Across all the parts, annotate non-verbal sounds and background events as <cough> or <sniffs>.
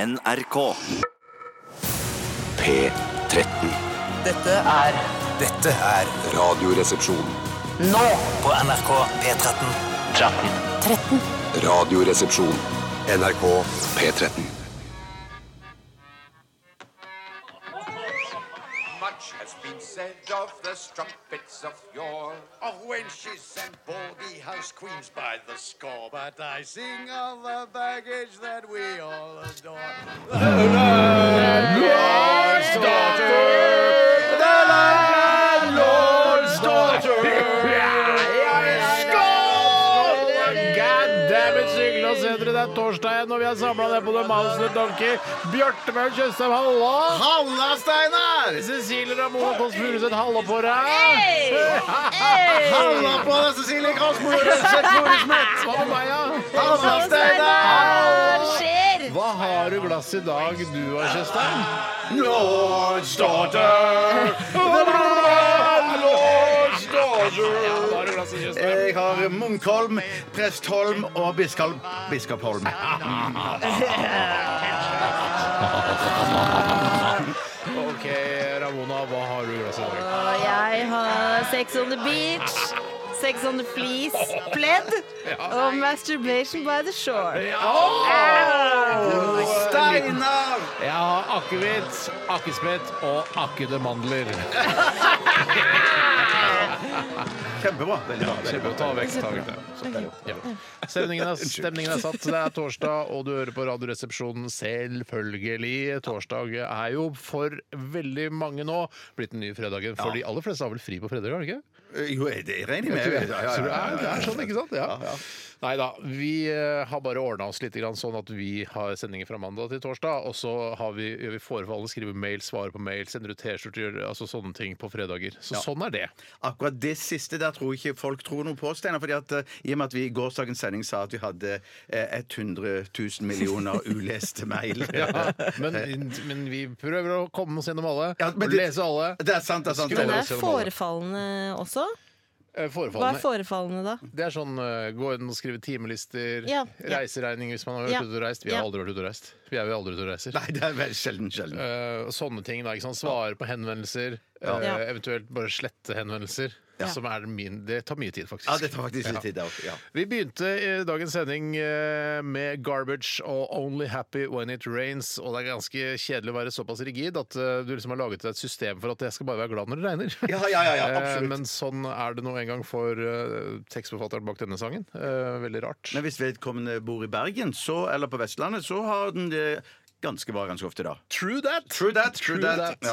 NRK. P13. Dette er Dette er Radioresepsjon. nå på NRK P13. Radioresepsjon. NRK P13. Much has been said of the strumpets of yore, of wenches and baldy house queens by the score. But I sing of the baggage that we all adore. Goddammit, hyggelig å se dere. Det er torsdag igjen, og vi har samla deg på The Mouse and the Donkey. Bjartemøl Tjøstheim, halla! Halla, Steinar! Cecilie Ramona Kåss Furuseth, halla på deg! Halla på deg, Cecilie Kåss Furuseth! Hva med meg, da? Halla, Steinar! Hva skjer? Hva har du glass i dag, du og Tjøstheim? Hva har du glass i Tjøstheim? Jeg har Munkholm, Prestholm og Biskholm. Biskopholm. OK, Ramona, hva har du glass i dag? Og jeg har sex on the beach, sex on the fleece, pledd og masturbation by the shore. Steinar! Jeg har akevitt, akespett og akkede mandler. Kjempebra. Veldig bra. Slipp å ta vekk. Ta vekk det. Ja. <laughs> Stemningen, er, stemningen er satt. Det er torsdag, og du hører på Radioresepsjonen selvfølgelig. Torsdag er jo for veldig mange nå blitt den nye fredagen. For de aller fleste har vel fri på fredager, har de ikke? Jo, det regner jeg med. Så Ja, ja, det ja. er, det er sånn, ikke sant? Ja. Nei da. Vi eh, har bare ordna oss litt grann sånn at vi har sendinger fra mandag til torsdag, og så har vi, gjør vi forefallende skriver mail, svarer på mail, sender ut T-skjorter, gjør altså sånne ting på fredager. Så sånn er det. Akkurat det siste der tror jeg ikke folk tror noe på, Steinar. fordi at eh, I og med at vi i gårsdagens sending sa at vi hadde eh, 100 000 <laughs> millioner uleste mail. Eh, Ja, <laughs> men, men vi prøver å komme oss gjennom alle. Ja, men og du- lese alle. Det er sant, det er sant. Skulle Men det Steinar. er forefallende også. Eh, Hva er Forefallende. forefallende da? Det er sånn eh, gå inn og skrive timelister, Ja, ja. reiseregning hvis man har vært Ja, ute og reist. Vi har ja. aldri vært ute og reist. Vi er jo aldri ute og reiser. Nei, det er veldig sjelden. sjelden. Eh, sånne ting. da, ikke sant? Svare på henvendelser. eh, Ja. eventuelt bare slette henvendelser. Som er min, det tar mye tid, faktisk. Ja, det tar faktisk litt tid. der også, Ja. Vi begynte eh, dagens sending eh, med Garbage og Only Happy When It Rains. Og det er ganske kjedelig å være såpass rigid at eh, du liksom har laget et system for at jeg skal bare være glad når det regner. Ja, ja, ja, ja, Eh, absolutt. Men sånn er det nå en gang for eh, tekstforfatteren bak denne sangen. Eh, Veldig rart. Men hvis vedkommende bor i Bergen så, eller på Vestlandet, så har den det ganske bra ganske ofte da. True that! True that, true that. Ja.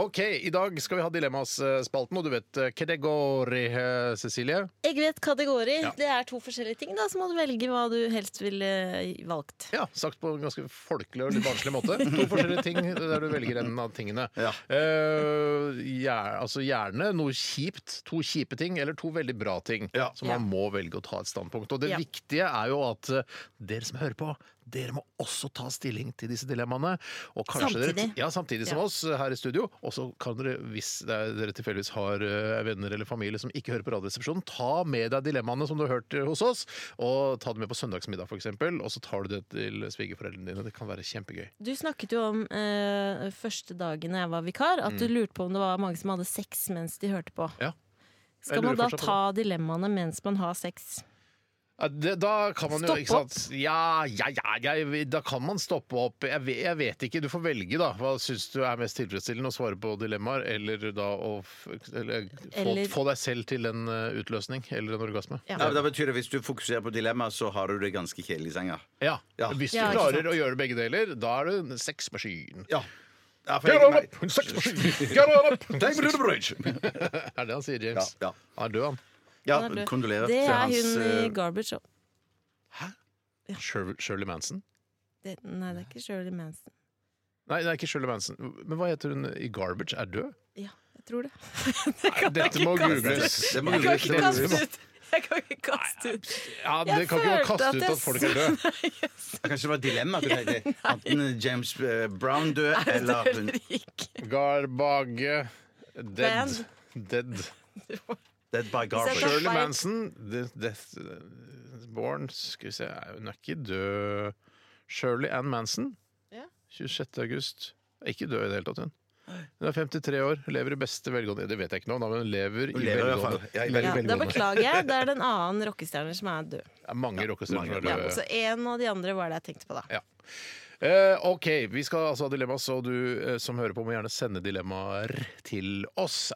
OK, i dag skal vi ha Dilemmas-spalten, og du vet eh, hva det går i, eh, Cecilie? Jeg vet kategori. Det er to forskjellige ting, da, så må du velge hva du helst ville valgt. <laughs> Ja, Sagt på en ganske folkelig og litt barnslig måte. To forskjellige ting der du velger en av tingene. Ja. Eh, gjer- altså Gjerne noe kjipt, to kjipe ting, eller to veldig bra ting. Ja. Så man må velge å ta et standpunkt. Og det Ja. viktige er jo at eh, dere som hører på, dere må også ta stilling til disse dilemmaene. Og kanskje Dere, Samtidig. ja, samtidig som Ja. oss eh, her i studio. Og så kan dere, hvis det er- dere tilfeldigvis har eh, venner eller familie som ikke hører på Radioresepsjonen, ta med deg dilemmaene som du har hørt eh, hos oss, og ta det med på søndagsmiddag f.eks. Og så tar du det til svigerforeldrene dine. Det kan være kjempegøy. Du snakket jo om eh, første dagen jeg var vikar, at du lurte på om det var mange som hadde sex mens de hørte på. Mm. Ja. Jeg Skal lurer man da fortsatt på ta dilemmaene mens man har sex? Ja, det, da kan man jo Stopp ikke sant? Ja, ja, ja, jeg, da kan man stoppe opp. Jeg vet, jeg vet ikke. Du får velge, da. Hva syns du er mest tilfredsstillende? Å svare på dilemmaer, eller da å f- eller, Eller- Få, få deg selv til en eh, utløsning eller en orgasme. Ja. Ja, men da betyr det Hvis du fokuserer på dilemma, så har du det ganske kjedelig i senga. Ja. Ja. Hvis du Ja, ikke klarer sant. å gjøre begge deler, da er du en sexmaskin. Ja. Ja, for Get jeg, on nei. up! Sexmaskin! Get on <laughs> up! Take me to the bridge! <laughs> er det han sier, James? Ja, ja. Han er død, han. Ja, Han er død. kondolerer Det til er hans hun i eh, Garbage òg. Shirley Shirley Manson? Det- Nei, det er ikke Shirley Manson. Nei, det er ikke Shirley Manson. Men hva heter hun i Garbage? Er <laughs> død? Ja, jeg tror det. Dette må kaste googles. Det må Jeg kan googles. ikke kaste ut! Jeg kan ikke kaste ut. Ja, Jeg det kan ikke følte kaste at ut jeg at folk er døde. <laughs> Kanskje det var dilemma? at du tenkte, Enten James eh, Brown død, eller hun Eller ikke. <laughs> Garbage dead. Band. Dead. Dead by Garbage. Sett Shirley Fight. Manson, the Death uh, Born Skal vi se, hun er ikke død. Shirley Ann Manson? Ja. 26. august. Ikke død i det hele tatt, hun. Hun er 53 år, lever i beste velgående. Det vet jeg ikke nå, da, men hun lever i Hun lever i hvert fall. velgående. Ja, i Lever i Ja, da velgående. beklager jeg. Det er den annen rockestjerne som er død. Det er mange rockestjerner som er Ja, døde. så en av de andre var det jeg tenkte på, da. Ja. Eh, OK, vi skal altså ha dilemma, så du eh, som hører på, må gjerne sende dilemmaer til oss.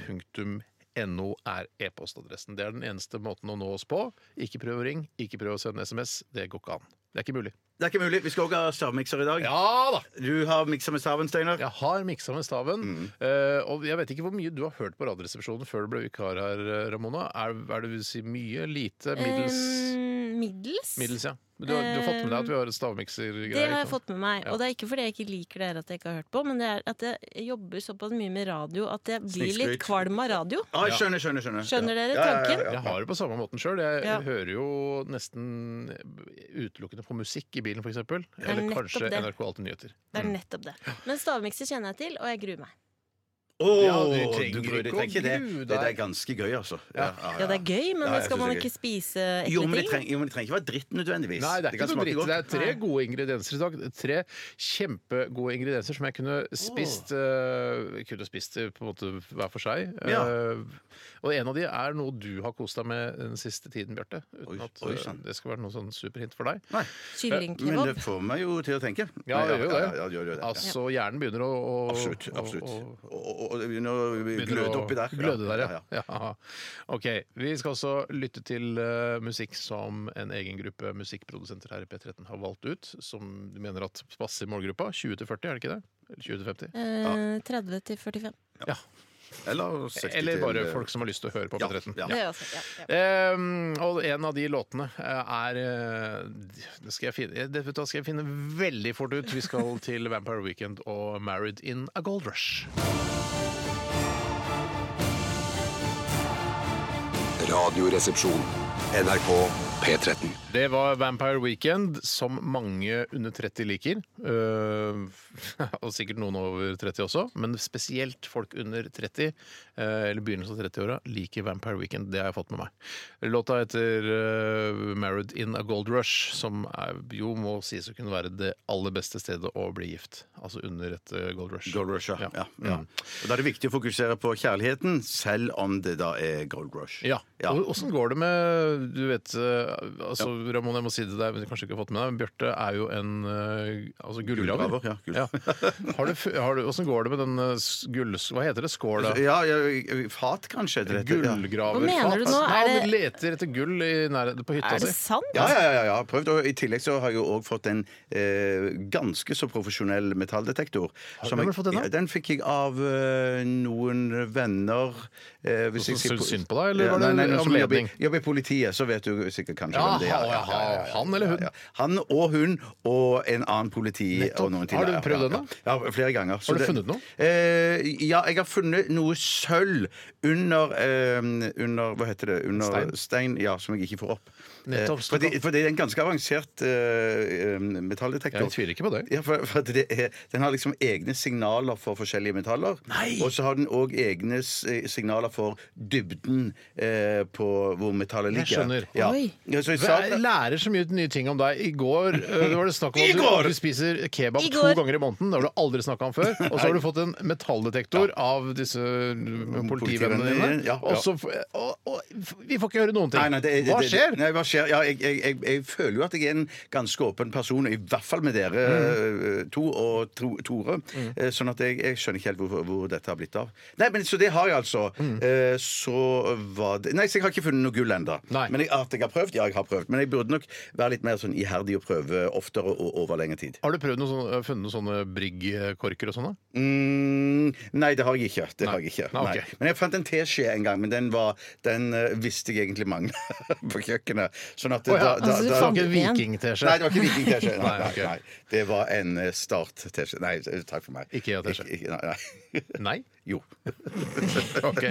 rrkrøllalfa.nrk.no er e-postadressen. Det er den eneste måten å nå oss på. Ikke prøv å ringe, ikke prøv å sende SMS. Det går ikke an. Det er ikke mulig. Det er ikke mulig. Vi skal også ha stavmikser i dag. Ja da! Du har miksa med staven, Steinar. Jeg har miksa med staven. eh, og jeg vet ikke hvor mye du har hørt på Radioresepsjonen før du ble vikar her, eh, Ramona. Er, er det vil si mye? Lite? Middels? Eh, middels? middels, ja. Men Du har, du har fått med deg at vi har stavmiksergreier? Det har jeg ikke sant? fått med meg. Ja. Og det er ikke fordi jeg ikke liker dere at jeg ikke har hørt på, men det er at jeg jobber såpass mye med radio at jeg blir Snikskryt. litt kvalm av radio. Ah, skjønner, skjønner, skjønner. Skjønner Ja, dere ja, ja, tanken? ja. Jeg har det på samme måten sjøl. Jeg Ja. hører jo nesten utelukkende på musikk i bilen, f.eks. Eller nettopp kanskje det. NRK Alltid Nyheter. Mm. Det er nettopp det. Men stavmikser kjenner jeg til, og jeg gruer meg. Åh, Ja, du du trenger gruer deg ikke å ikke det. grue deg. Det er ganske gøy, altså. Ja, ja, Ja, det er gøy, men Ja, jeg synes skal man det er ikke spise Jo, men ekle det ting? trenger, jo, men det trenger ikke være dritt nødvendigvis. Nei, det er ikke kan noe smake dritt. godt. Det er tre gode ingredienser i dag. Tre kjempegode ingredienser som jeg kunne spist eh, Kunne spist eh, på en måte hver for seg. Ja. Eh, og en av de er noe du har kost deg med den siste tiden, Bjarte. Uten Oi, at oi, eh, sann. det skal være noe sånn superhint for deg. Nei, men det Kyllingkebab. får meg jo til å tenke. Ja, Nei, det gjør jo ja, ja, det gjør jo det. det. Ja. Altså, hjernen begynner å, å Absolutt. å- absolutt. å- Og, og, og det begynner å gløde Begynner å oppi der. Gløde der, ja. ja. Ok, Vi skal også lytte til eh, musikk som en egen gruppe musikkprodusenter her i P13 har valgt ut, som de mener at passer målgruppa. 20 til 40, er det ikke det? Eller 20 til 50? Eh, 30 til 45. Ja. Eller, 60 Eller bare til- eh, folk som har lyst til å høre på Ja, P13. ja. Det er også, ja, ja. Ehm, og en av de låtene eh, er eh, det skal jeg, finne, det vet du hva, skal jeg finne veldig fort ut. Vi skal til Vampire Weekend og Married in a Gold Rush. Radioresepsjon. NRK P13. Det var Vampire Weekend, som mange under 30 liker. Eh, <laughs> og sikkert noen over 30 også, men spesielt folk under 30, eh, eller begynnelsen av 30-åra, liker Vampire Weekend. Det har jeg fått med meg. Låta heter eh, 'Married in a Gold Rush', som er, jo må sies å kunne være det aller beste stedet å bli gift. Altså under et eh, gold rush. Gold Rush, ja. Ja. ja. Mm. Og Da er det viktig å fokusere på kjærligheten, selv om det da er Gold Rush. Ja. Ja. Og Åssen går det med Du vet, eh, altså, Ramon, jeg må si det til deg, men du kanskje ikke har fått med deg, men Bjarte er jo en eh, altså, gullgraver. Gullgraver, ja, gull. Har du, f- har du, hvordan går det med den eh, s- gull... Hva heter det? Skål, da? Ja, ja, fat kanskje heter dette. ja. Gullgraver. Hva mener du Faen, nå? ass. Nei, Er Han det- leter etter gull i nærheten på hytta Er det si. sant? Ja, ja, ja, ja, jeg har prøvd. Og I tillegg så har jeg jo òg fått en eh, ganske så profesjonell metalldetektor. du- Som hvem har jeg- du fått den av? Ja, Den fikk jeg av eh, noen venner. Eh, hvis Noen som jeg sier syntes po- synd på deg, eller var det noen som jobber i- anledning? Jobber i politiet, så vet du sikkert kanskje Ja, hvem det er. ja, ja, han eller hun? Han og hun og en annen politi. Nettopp. Og noen til, Har du ja, prøvd ja, den da? Ja, ja, flere ganger. Så Har du funnet noe? Eh, ja, jeg har funnet noe sølv under, eh, under Hva heter det? Under Stein? stein ja, som jeg ikke får opp. Nettopp, Eh, stopp fordi, opp. for det er en ganske avansert eh, eh, metalldetektor. Jeg tviler ikke på det. Ja, for, for at det er, Den har liksom egne signaler for forskjellige metaller. Og så har den òg egne s- eh, signaler for dybden eh, på hvor metallet Jeg ligger. skjønner. Ja. Oi. Ja, så i Jeg starten- lærer så mye nye ting om deg. I går eh, det var det snakk <laughs> om I at du, går! at du spiser kebab I to går. ganger i måneden. Det har du aldri snakka om før. Og så har du fått en metalldetektor av disse eh, politivennene dine. Politivennene, ja, ja. Og, så, f- og, og vi får ikke høre noen ting. Nei, nei, det, det, Hva det- skjer? Nei, hva skjer? Ja, jeg, jeg, jeg, jeg føler jo at jeg er en ganske åpen person, i hvert fall med dere Mm. eh, to og Tro, Tore. Eh, Sånn at jeg, jeg skjønner ikke helt hvor, hvor dette har blitt av. Nei, men Så det har jeg altså. Mm. Eh, Så var det Nei, så jeg har ikke funnet noe gull ennå. Nei. Men jeg, at jeg har prøvd? Ja, jeg har prøvd. Men jeg burde nok være litt mer sånn iherdig og prøve oftere og over lengre tid. Har du prøvd noen sånne, funnet noen sånne Brigg-korker og sånne? Mm, nei, det har jeg ikke. Det har jeg ikke. Nei, ok. Nei. Men jeg fant en teskje en gang, men den, var, den eh, visste jeg egentlig mangla <laughs> på kjøkkenet. Sånn at Å ja, Altså, du det var fant ikke en den igjen. vikingteskje? Nei, det var ikke vikingteskje. Nei, Nei, nei, ok. nei. Det var en eh, start-teskje. Nei, takk for meg. Ikke IKEA-teskje. Ikke- Nei, nei. Nei? Jo. Ok.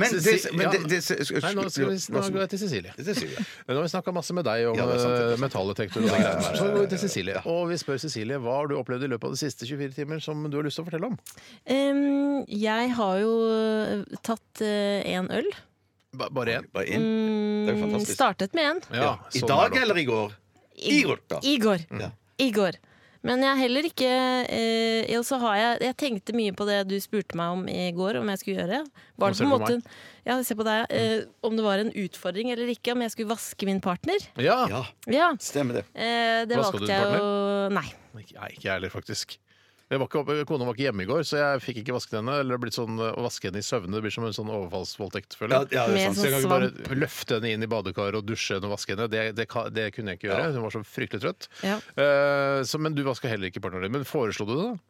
Men Så- det- si- men ja, det- det- det- Nei, nå, skal vi, nå går jeg til Cecilie. Det sier jeg. Men Nå har vi snakka masse med deg om Ja, det er sant, det er eh, sant. metalldetektor og de greiene der. Så går vi til Cecilie. Og vi spør Cecilie hva har du opplevd i løpet av de siste 24 timer som du har lyst til å fortelle om? Em, jeg har jo eh, tatt eh, en øl. Ba- Bare én? Bare inn. Det er Mm, jo fantastisk. Startet med en. Ja, I sånn er dag det. eller i går? I går, da. I går. I går. Men jeg er heller ikke eh, og så har jeg, jeg tenkte mye på det du spurte meg om i går, om jeg skulle gjøre. Var Nå det ser du på en på måte en- ja, se på deg, ja. Mm. eh, Om det var en utfordring eller ikke, om jeg skulle vaske min partner. Ja. Ja, Ja, stemmer det. eh, Det Vasket du valgte din jeg jo Nei. Ikke- Nei, ikke jeg heller, faktisk. Jeg var ikke oppe, kona var ikke hjemme i går, så jeg fikk ikke vasket henne. Eller det er blitt sånn, Å vaske henne i søvne det blir som en sånn overfallsvoldtekt. føler jeg. Ja, ja, det er Med sant. Så jeg kan sånn ikke bare løfte henne inn i badekaret og dusje henne og vaske henne. Det, det, ka- det kunne jeg ikke gjøre. Hun var så fryktelig trøtt. Ja. Eh, så, men du vaska heller ikke partneren din. Men foreslo du det, da?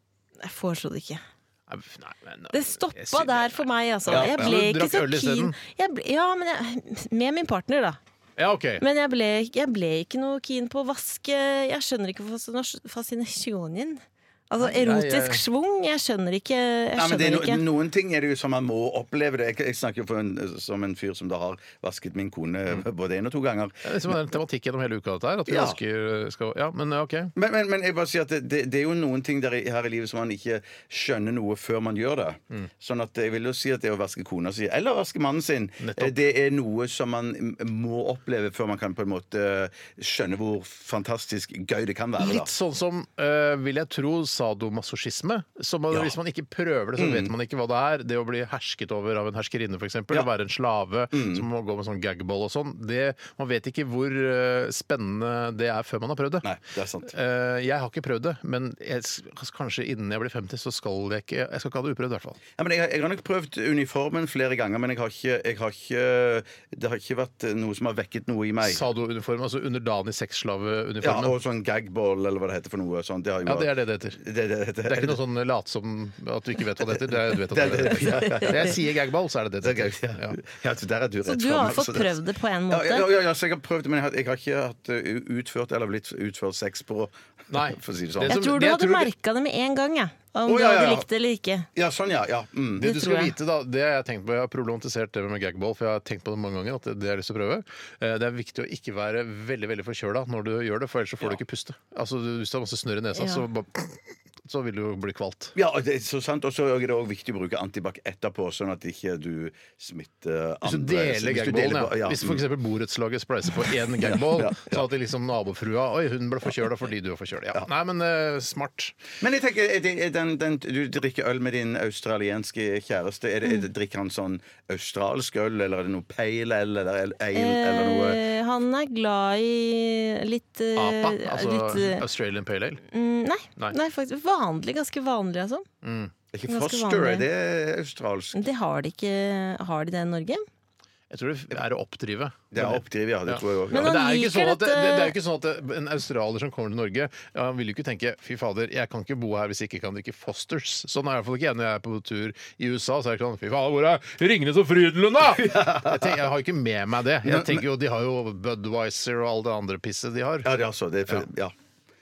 Jeg foreslo det ikke. Nei, Nei, men, eh, Det stoppa der for meg, altså. ja. Jeg ble Du ikke drakk så øl keen. isteden? Jeg ble, ja, men jeg, med min partner, da. Ja, OK. Men jeg ble, jeg ble ikke noe keen på å vaske. Jeg skjønner ikke fascinas- fascinasjonen. Altså jeg- erotisk schwung. Jeg skjønner ikke. Jeg Nei, men det er skjønner no, ikke. noen ting er det jo som man må oppleve. det. Jeg, jeg snakker jo for en, som en fyr som da har vasket min kone Mm. både én og to ganger. Det er liksom en tematikk gjennom hele uka, dette her. At vi Ja. vasker skal, Ja, men eh, OK. Men, men, men jeg bare sier at det, det, det er jo noen ting der i, her i livet som man ikke skjønner noe før man gjør det. Mm. Sånn at jeg vil jo si at det å vaske kona si, eller vaske mannen sin, Nettopp. eh, det er noe som man m- må oppleve før man kan på en måte eh, skjønne hvor fantastisk gøy det kan være. Litt Da. sånn som, øh, vil jeg tro, sadomasochisme. Som man, Ja. Mm. Hvis man ikke prøver det, så vet man ikke hva det er. Det å bli hersket over av en herskerinne, f.eks. eksempel Å være en slave Mm. som må gå med sånn gagball og sånn. Det, man vet ikke hvor øh, spennende det er før man har prøvd det. Nei, det er sant. Eh, jeg har ikke prøvd det, men jeg, s- altså, kanskje innen jeg blir 50, så skal jeg ikke Jeg skal ikke ha det uprøvd, i hvert fall. Ja, men jeg, jeg har nok prøvd uniformen flere ganger, men jeg har ikke, jeg har ikke Det har ikke vært noe som har vekket noe i meg. Sadouniform, altså underdanig Ja, sexslaveuniformen. og sånn gagball, eller hva det heter for noe sånt. Det, har jo Ja, det er vært- det det heter. det, det, det, Det er ikke noe sånn late som at du ikke vet hva det heter. Det er, du vet at det er det det Ja, ja, heter. Når jeg sier gagball, så er det det det <laughs> heter. ja. Ja. Ja, så der er du Så rett du frem, har fått altså. prøvd det på en Ja, ja, måte? ja, ja, så jeg har prøvd, men jeg har, jeg har ikke hatt uh, utført eller blitt utført sex på <laughs> Nei. For å si det sånn. Det Jeg som- tror det du jeg hadde tror det- merka det med en gang, jeg. Om Å, du ja, ja, hadde ja. likt det eller ikke. Ja, sånn, ja. ja. Mm. Det, Det du tror skal jeg. vite da, det har jeg tenkt på, jeg har problematisert det med gagball, for jeg har tenkt på det mange ganger. at Det, det har jeg lyst til å prøve. Eh, Det er viktig å ikke være veldig veldig forkjøla når du gjør det, for ellers så får du ikke puste. Altså, du- Hvis du har masse snørr i nesa, Ja. så, bare, <sniffs> så vil du jo bli kvalt. Ja, og det er så sant. Og så er det også viktig å bruke antibac etterpå, sånn at ikke du smitter andre. Hvis du deler gagballen, på- mm. ja. Hvis f.eks. borettslaget spleiser på én <laughs> gagball, sånn at det liksom nabofrua Oi, hun ble forkjøla fordi du var forkjøla. Ja. Nei, men eh, smart. Men jeg tenker, er det, er den, den, du drikker øl med din australienske kjæreste. Er det, er det, drikker han sånn australsk øl, eller er det noe pale ale, eller ale, eller noe Eh, han er glad i litt eh, APA, altså litt, eh, Australian Pale Ale. mm, nei, Nei. nei, faktisk vanlig. Ganske vanlig, altså. Det er ikke Ganske Foster, vanlig. er det australsk? Det har de ikke Har de det i Norge? Jeg tror det er å oppdrive. Det er oppdrivet, ja. Det Ja. tror jeg også. Men ja. Men det han er jo ikke liker sånn at, det, dette- det, det er jo ikke sånn at det, en australier som kommer til Norge, ja, han vil jo ikke tenke 'fy fader, jeg kan ikke bo her hvis jeg ikke kan drikke Fosters'. Sånn er i hvert fall ikke jeg når jeg er på tur i USA. Så er det ikke sånn 'fy fader, hvor er Ringnes og <laughs> Frydenlund', da?! Jeg, tenker, jeg har jo ikke med meg det. Jeg tenker jo, De har jo Budwiser og alle det andre pisset de har. Ja, det er altså det. Er, ja.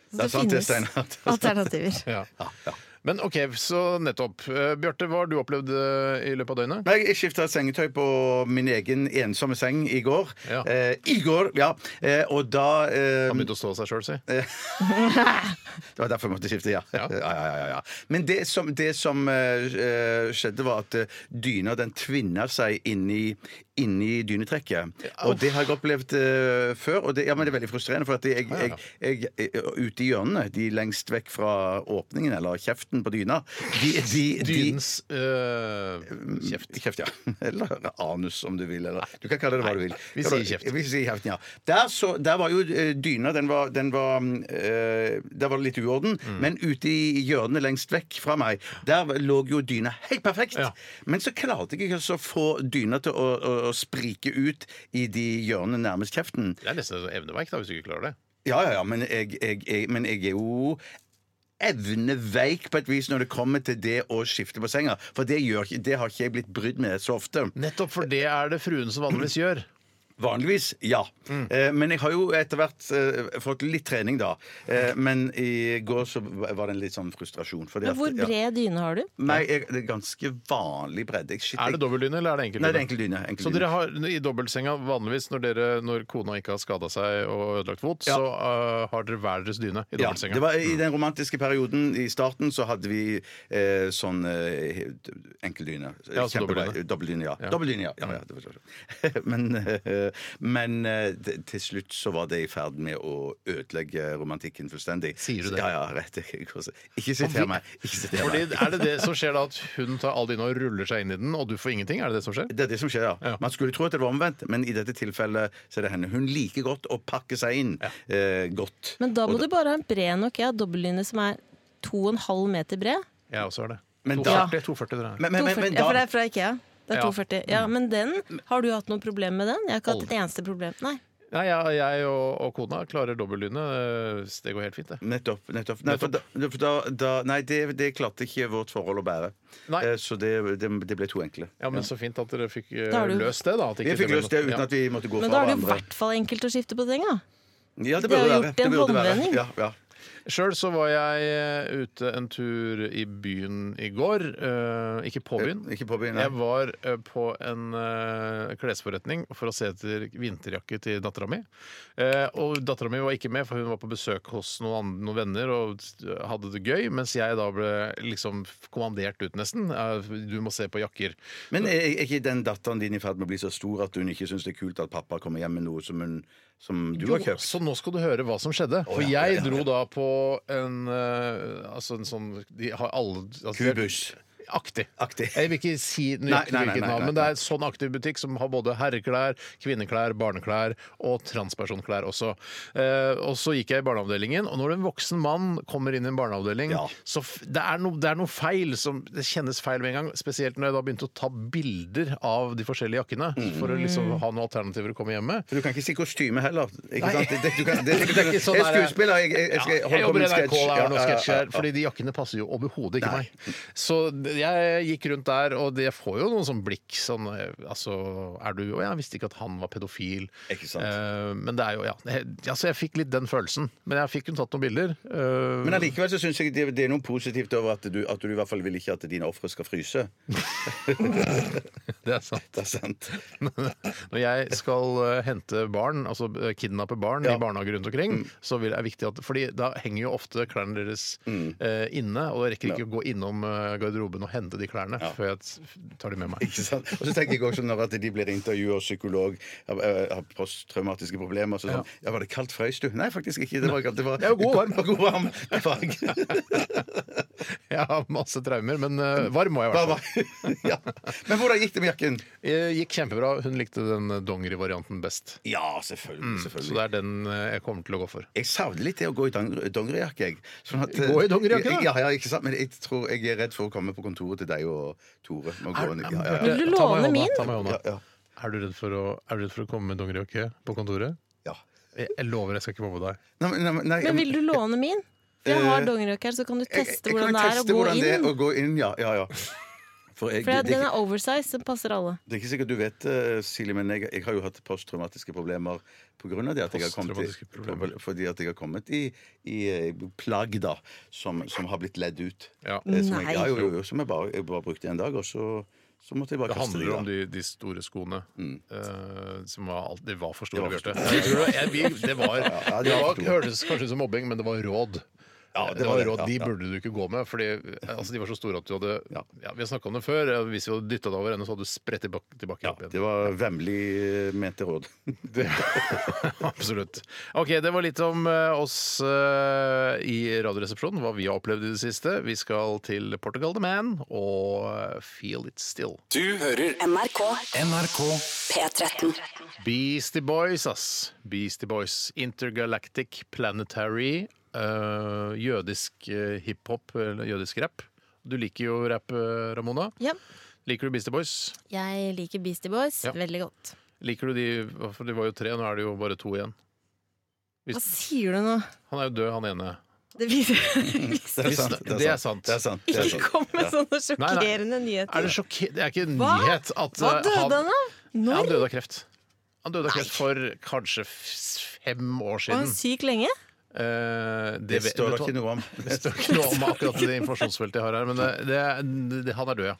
Så Det er sant, det, Steinar. <laughs> alternativer. Ja. Men OK, så nettopp. Eh, Bjarte, hva har du opplevd eh, i løpet av døgnet? Nei, Jeg skifta sengetøy på min egen ensomme seng i går. Ja. Eh, I går, ja. Eh, og da eh, Han begynte å stå seg sjøl, si. Det var derfor jeg måtte skifte, ja. Ja. ja. ja, ja, ja, Men det som, det som eh, eh, skjedde, var at eh, dyna den tvinna seg inni Inni dynetrekket. Og det har jeg opplevd eh, før. Og det, ja, men det er veldig frustrerende, for at jeg, jeg, jeg, jeg, ute i hjørnene, de lengst vekk fra åpningen, eller kjeften på dyna de, de, de, Dynens eh, kjeft. Mm, Kjeft, ja. <laughs> Eller anus, om du vil. Eller. Du kan kalle det hva du vil. vi Kan du- sier kjeft. Vi sier kjeften, ja. Der, så, der var jo eh, dyna Den var, den var eh, Der var det litt uorden, Mm. men ute i hjørnet lengst vekk fra meg, der lå jo dyna helt perfekt. Ja. Men så klarte jeg ikke altså å få dyna til å, å, å sprike ut i de hjørnene nærmest kjeften. Det er nesten et evneverk, da, hvis du ikke klarer det. Ja, ja, ja, men jeg, jeg, jeg, men jeg er jo evneveik på et vis når det kommer til det å skifte på senga. For det, gjør, ikke- det har ikke jeg blitt brydd med så ofte. Nettopp, for det er det fruen som vanligvis gjør. Vanligvis, ja. Mm. Eh, men jeg har jo etter hvert eh, fått litt trening, da. Eh, men i går så var det en litt sånn frustrasjon. Fordi Men hvor at- Ja. bred dyne har du? Nei, jeg, det er ganske vanlig bredde. Jeg- Shit, Er jeg, det dobbeltdyne, eller er det enkeltdyne? nei, det er enkel dyne. Enkel Så dyne. dere har i dobbeltsenga vanligvis når, dere, når kona ikke har skada seg og ødelagt fot, så øh, har dere hver deres dyne i Ja, dobbeltsenga. det var I den romantiske perioden i starten så hadde vi eh, sånn eh, enkeldyne. Ja, altså Kjempebra. dobbeldyne. Dobbeldyne, ja. Dobbeldyne, ja. ja, ja. det var sånn. <laughs> Men eh, eh, Men eh, det- til slutt så var det i ferd med å ødelegge romantikken fullstendig. Sier du det? Ja, ja, rett. Ikke siter meg. Ikke siter Fordi, meg. er det det som skjer da at hun tar alle dine og ruller seg inn i den, og du får ingenting? Er det det som skjer? Det er det som skjer, ja. Ja. Man skulle tro at det var omvendt, men i dette tilfellet så er det henne. Hun liker godt å pakke seg inn eh, godt. Men da må du bare ha en bred nok Jeg har dobbeltlinje som er 2,5 meter bred. Jeg også har det. Men da- 240, 240 dere. Men, men, men, 240, men ja, da for det Mm. er fra Ikea. Det er Ja. 240. Ja, men den, har du hatt noe problem med den? Jeg har ikke hatt et eneste problem. Nei. Nei, jeg, jeg og, og kona klarer dobbeltdyne. Eh, Det går helt fint, det. Nettopp. nettopp. Nei, for da, for da, da, nei det, det klarte ikke vårt forhold å bære. Nei. Eh, Så det, det, det ble to enkle. Ja, men så fint at dere fikk eh, Da har du- løst det, da. At Vi ikke fikk ble løst det noe- uten at vi måtte gå Men fra da er det jo i hverandre. hvert fall enkelt å skifte på ting, da. Ja, det burde Det har jo være. gjort en Det burde være. håndvending. Ja, ja. Sjøl så var jeg eh, ute en tur i byen i går. eh, ikke på byen. Eh, ikke på byen, nei. jeg var eh, på en eh, klesforretning for å se etter vinterjakke til dattera mi. Eh, og dattera mi var ikke med, for hun var på besøk hos noen, andre, noen venner og hadde det gøy. Mens jeg da ble liksom kommandert ut, nesten. Eh, du må se på jakker. Men er, er ikke den datteren din i ferd med å bli så stor at hun ikke syns det er kult at pappa kommer hjem med noe som, hun, som du har Jo, kjøpt? så nå skal du høre hva som skjedde. For ja, jeg ja, ja. dro da på en eh, Altså en sånn De har alle altså, Kubus. Aktig. Aktig. Jeg vil ikke si Nei, nøyaktig nei, nei, hvilket nei, navn, nei. men det er en sånn aktiv butikk som har både herreklær, kvinneklær, barneklær og transpersonklær også. Eh, og så gikk jeg i barneavdelingen, og når en voksen mann kommer inn i en barneavdeling, Ja. så f det er, no, det er noe feil som Det kjennes feil med en gang, spesielt når jeg da begynte å ta bilder av de forskjellige jakkene Mm. for å liksom ha noen alternativer å komme hjem med. For Du kan ikke si kostyme heller. Ikke Nei. sant? Det, det, du kan, det, det, <laughs> Det er ikke sånn jeg er der- skuespiller, jeg, jeg, jeg skal Ja, jeg holde på jobber i med en NRK, sketsj. Ja, det er noen ja, ja, sketsjer. ja. Fordi de jakkene passer jo overhodet ikke Nei. meg. Så jeg gikk rundt der, og det- jeg får jo noen sånn blikk sånn eh, Altså, er du Å, jeg visste ikke at han var pedofil. Ikke sant. Eh, men det er jo Ja. Jeg, altså, jeg fikk litt den følelsen. Men jeg fikk hun tatt noen bilder. eh, Men allikevel så syns jeg det, det er noe positivt over at du, at du i hvert fall vil ikke at dine ofre skal fryse. <laughs> det er sant. Det er sant. <laughs> Når jeg skal eh, hente barn, altså eh, kidnappe barn i barnehager rundt omkring, Mm. så vil det er viktig at Fordi da henger jo ofte klærne deres Mm. eh, inne, og jeg rekker ikke å gå innom eh, garderoben og hente de klærne før jeg t- tar de med <laughs> meg. Ikke sant? Og så tenker jeg også når at de blir intervjua av psykolog av, eh, av posttraumatiske problemer. Så sånn, ja. Var det kaldt frøys du? Nei, faktisk ikke. Det var, kaldt. det <laughs> var, Jeg er jo god varm. Det var <laughs> god varm. Det var <laughs> Jeg har masse traumer, men eh, varm var jeg i Bare <laughs> hvert fall. varm. ja. Men hvordan gikk det med jakken? Eh, Gikk kjempebra. Hun likte den eh, dongerivarianten best. Mm. Ja, selvfølgelig. Så selvfølgelig. det er den eh, jeg kommer til å gå for. Jeg savner litt Mm, det å gå i dong- dongerijakke. jeg. Sånn at, eh, Gå i dongerijakke, da? Ja, ja, ikke sant? Men jeg tror jeg er redd for å komme på kontoret til deg og Tore. Med å gå ned- ja, ja, ja. Vil Ta meg i du hånda, låne min? Ta meg i hånda. Ja, ja. Er du redd for å, er du redd for å komme med dongerijakke på kontoret? Ja. Jeg, jeg lover, jeg skal ikke mobbe deg. Nei, men- nei, men- nei, Men vil du låne min? For jeg Eh, har dongerijokk her, så kan du jeg- teste jeg kan hvordan det er å teste gå hvordan det er inn. å gå inn. Ja, ja, ja. For jeg, For det, det, jeg- den er oversize, den passer alle. Det er ikke sikkert du vet, eh, Silje, men jeg, jeg har jo hatt posttraumatiske problemer pga. det at jeg har kommet, Posttraumatiske problemer. i, fordi at jeg har kommet i, i eh, plagg da, som, som har blitt ledd ut. Ja. Eh, Som jeg, Nei. ja, jo, jo, jo, som jeg bare, jeg bare brukte en dag, og så, så måtte jeg bare Det kaste handler om de, da. de, de store skoene. eh, som var, alt- de var for store, Det var for Bjarte. Jeg tror det- jeg- vi- Det var, <laughs> ja, de det var var for store. hørtes kanskje ut som mobbing, men det var råd. Ja, Eh, det det var var det, råd, ja, De ja. burde du ikke gå med. Fordi eh, altså, De var så store at du hadde Ja. ja, Vi har snakka om det før. eh, Hvis vi hadde dytta det over ende, så hadde du spredt tilbake, tilbake opp igjen. <laughs> Det var vemmelig eh, mente råd. Absolutt. Ok, Det var litt om eh, oss eh, i Radioresepsjonen, hva vi har opplevd i det siste. Vi skal til Portugal the Man og eh, Feel It Still. Du hører NRK NRK P13. Beastie Boys, ass. Beastie Boys. Intergalactic Planetary. øh, jødisk øh, hiphop, eller jødisk rap. Du liker jo rap, øh, Ramona. Ja. Liker du Beastie Boys? Jeg liker Beastie Boys Ja. veldig godt. Liker du de For de var jo tre, nå er det jo bare to igjen. Hva sier du nå? Han er jo død, han ene. <laughs> Det sånn- viser Det er sant. Det er sant. Det er sant. Det er Ikke sant. kom med sånne Nei, nei. sjokkerende Er det, nyheter. sjokke- det er ikke en Hva? nyhet at Hva øh, døde han av? Ja, han Når? døde av kreft. Han døde av kreft for kanskje f- fem år Var han siden. syk lenge? Eh, det Det vet- står det vet du hva- ikke noe om. Det står ikke noe om akkurat det informasjonsfeltet jeg har her, men det, det, det, han er død, ja.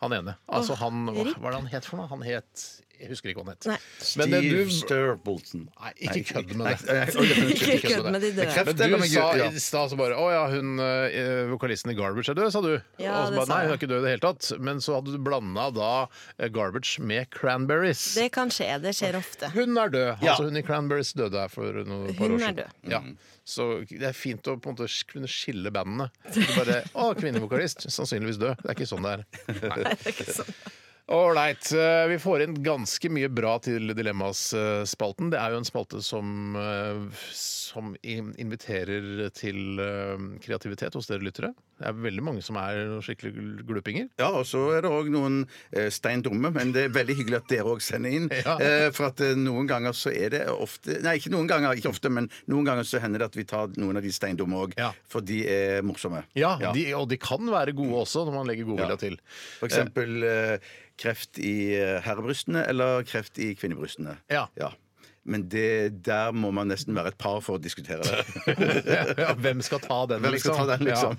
Han ene. Altså han, hva RIP. var det han het for noe? Han het Jeg husker ikke hva den het. Nei. Men det Steve du Sturbolton. Nei, ikke kødd med det. Nei, nei, nei, Ikke unnskyld. kødd med de døde. kreft, Men eller du med sa gud- ja. i stad så bare Å ja, hun eh, vokalisten i Garbage er død, sa du. Ja, og så det bare, sa Nei, hun jeg. er ikke død i det hele tatt. Men så hadde du blanda da eh, Garbage med Cranberries. Det kan skje. Det skjer ofte. Hun er død. Ja. Altså Hun i Cranberries døde her for noen par år Hun er siden. død. Ja. Så det er fint å på en måte sk- kunne skille bandene. Ikke bare 'Å, kvinnevokalist. Sannsynligvis død'. Det er ikke sånn det er. Nei. Ålreit. eh, Vi får inn ganske mye bra til Dilemmas-spalten. Det er jo en spalte som, eh, som in- inviterer til eh, kreativitet hos dere lyttere. Det er veldig mange som er noen skikkelig glupinger. Ja, og så er det òg noen eh, stein dumme, men det er veldig hyggelig at dere òg sender inn. <laughs> Ja. Eh, for at eh, noen ganger så er det ofte Nei, ikke noen ganger, ikke ofte, men noen ganger så hender det at vi tar noen av de steindumme òg, Ja. for de er morsomme. Ja, De, og de kan være gode også, når man legger godvilja Ja. til. For eksempel eh, kreft i eh, herrebrystene eller kreft i kvinnebrystene. Ja. Men det, der må man nesten være et par for å diskutere <laughs> det. ja, hvem skal ta den, Hvem skal liksom? ta den, liksom?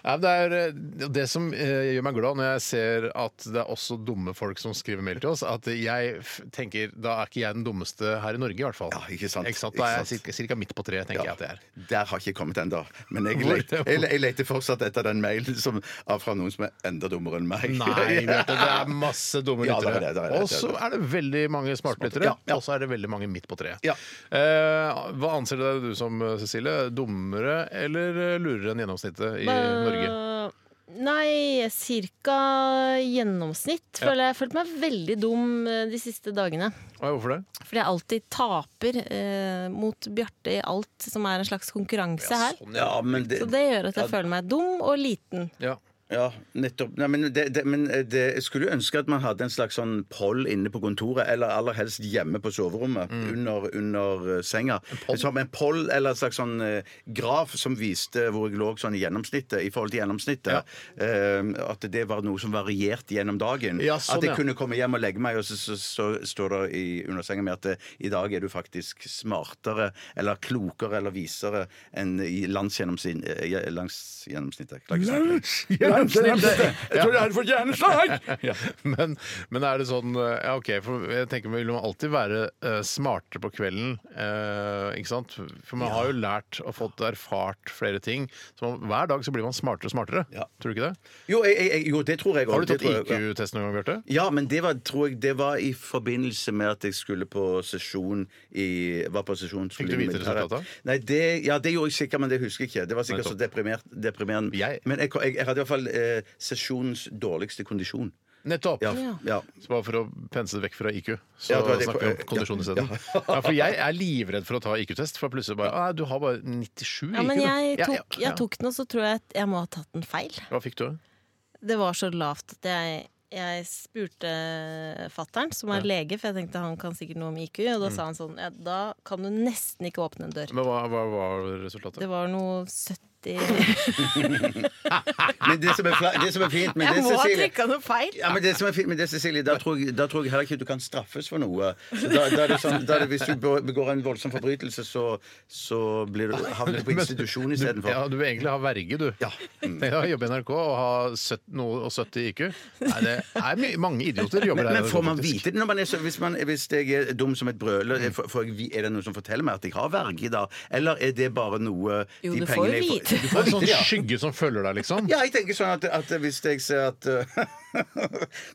Ja. Nei, men det, er, eh, det som eh, gjør meg glad når jeg ser at det er også dumme folk som skriver mail til oss, at jeg f- tenker da er ikke jeg den dummeste her i Norge, i hvert fall. Ja, ikke sant. Da er Ikke sant. jeg cirka midt på treet, tenker Ja. jeg at det <laughs> er. Der har ikke jeg kommet ennå. Men jeg Hvor- leter, jeg, jeg leter fortsatt etter den mailen som, fra noen som er enda dummere enn meg. Nei, Bjarte, det <laughs> er masse dumme Ja, det er lyttere. det, det er det. Og så er det veldig mange smartlyttere, Ja, ja. og så er det veldig mange midt på treet. Ja. Eh, hva anser du deg som, eh, Cecilie? Dummere eller eh, lurere enn gjennomsnittet i Norge? Nei, cirka gjennomsnitt. Føler jeg. jeg har følt meg veldig dum eh, de siste dagene. Oi, Hvorfor det? Fordi jeg alltid taper eh, mot Bjarte i alt som er en slags konkurranse her. sånn. Ja, men det, Så det gjør at jeg føler meg dum og liten. Ja. Ja, nettopp. Nei, men det, det, men eh, det, jeg skulle jo ønske at man hadde en slags sånn poll inne på kontoret, eller aller helst hjemme på soverommet, Mm. under, under eh, senga. Som en poll eller en slags sånn eh, graf som viste hvor jeg lå sånn i gjennomsnittet, i forhold til gjennomsnittet. Eh, at det var noe som varierte gjennom dagen. Ja, sånn, at jeg ja. kunne komme hjem og legge meg, og så, så, så står det i, under senga mi at eh, i dag er du faktisk smartere eller klokere eller visere enn i landsgjennomsnittet. Landsgjennomsnittet. Klarer ikke å snakke. Jeg tror jeg hadde fått hjerneslag! <laughs> Men, men er det sånn eh, Ja, OK, for jeg tenker man vil man alltid være eh, smartere på kvelden, eh, ikke sant? For man har jo lært og fått erfart flere ting. Så man, hver dag så blir man smartere og smartere. Ja. Tror du ikke det? Jo, jeg, jeg, jo, det tror jeg også. Har du Det tatt tror jeg- IQ-test noen gang, Bjarte? Ja, men det var, tror jeg, det var i forbindelse med at jeg skulle på sesjon i Var på sesjon Fikk du vite resultatet? Nei, det, ja, det gjorde jeg sikkert, men det husker jeg ikke. Det var sikkert så deprimert, deprimerende. Jeg- Men jeg, jeg, jeg hadde i hvert fall eh, sesjonens dårligste kondisjon. Nettopp! Ja, ja. Så bare for å pense det vekk fra IQ, så Ja, det var det- snakker vi om kondisjon isteden. Ja. for jeg er livredd for å ta IQ-test, for plutselig bare «Å, Du har bare 97 Ja, IQ. men du.» jeg Ja, tok, ja, ja. jeg tok den, og så tror jeg at jeg må ha tatt den feil. Hva fikk du? Det var så lavt at jeg, jeg spurte fattern, som er lege, for jeg tenkte han kan sikkert noe om IQ, og Mm. da sa han sånn ja, Da kan du nesten ikke åpne en dør. Men hva, hva var resultatet? Det var noe <laughs> 70 Men det som er, fla- det som er fint med det, <laughs> Jeg må ha Cecilie trykka noe feil! Ja, men det som er fint med det, Cecilie, da tror, jeg, da tror jeg heller ikke du kan straffes for noe. Så da, da er det sånn, da er det, hvis du be- begår en voldsom forbrytelse, så, så blir du, havner du <laughs> på institusjon Ja, Mm. istedenfor. du vil egentlig ha verge, du. <laughs> Ja. Tenk deg å jobbe i NRK og ha 70, noe og 70 IQ. Nei, det er my mange idioter jobber Men, der. i men NRK, får man faktisk. vite det når man er så Hvis, man, hvis jeg er dum som et brøl, er, får jeg, vi- er det noen som forteller meg at jeg har verge da? Eller er det bare noe Jo, de du får pengene jeg vite. Du Det får er en vite det, sånn ja. skygge som følger deg, liksom. Ja, jeg tenker sånn at, at hvis jeg ser at <laughs> uh,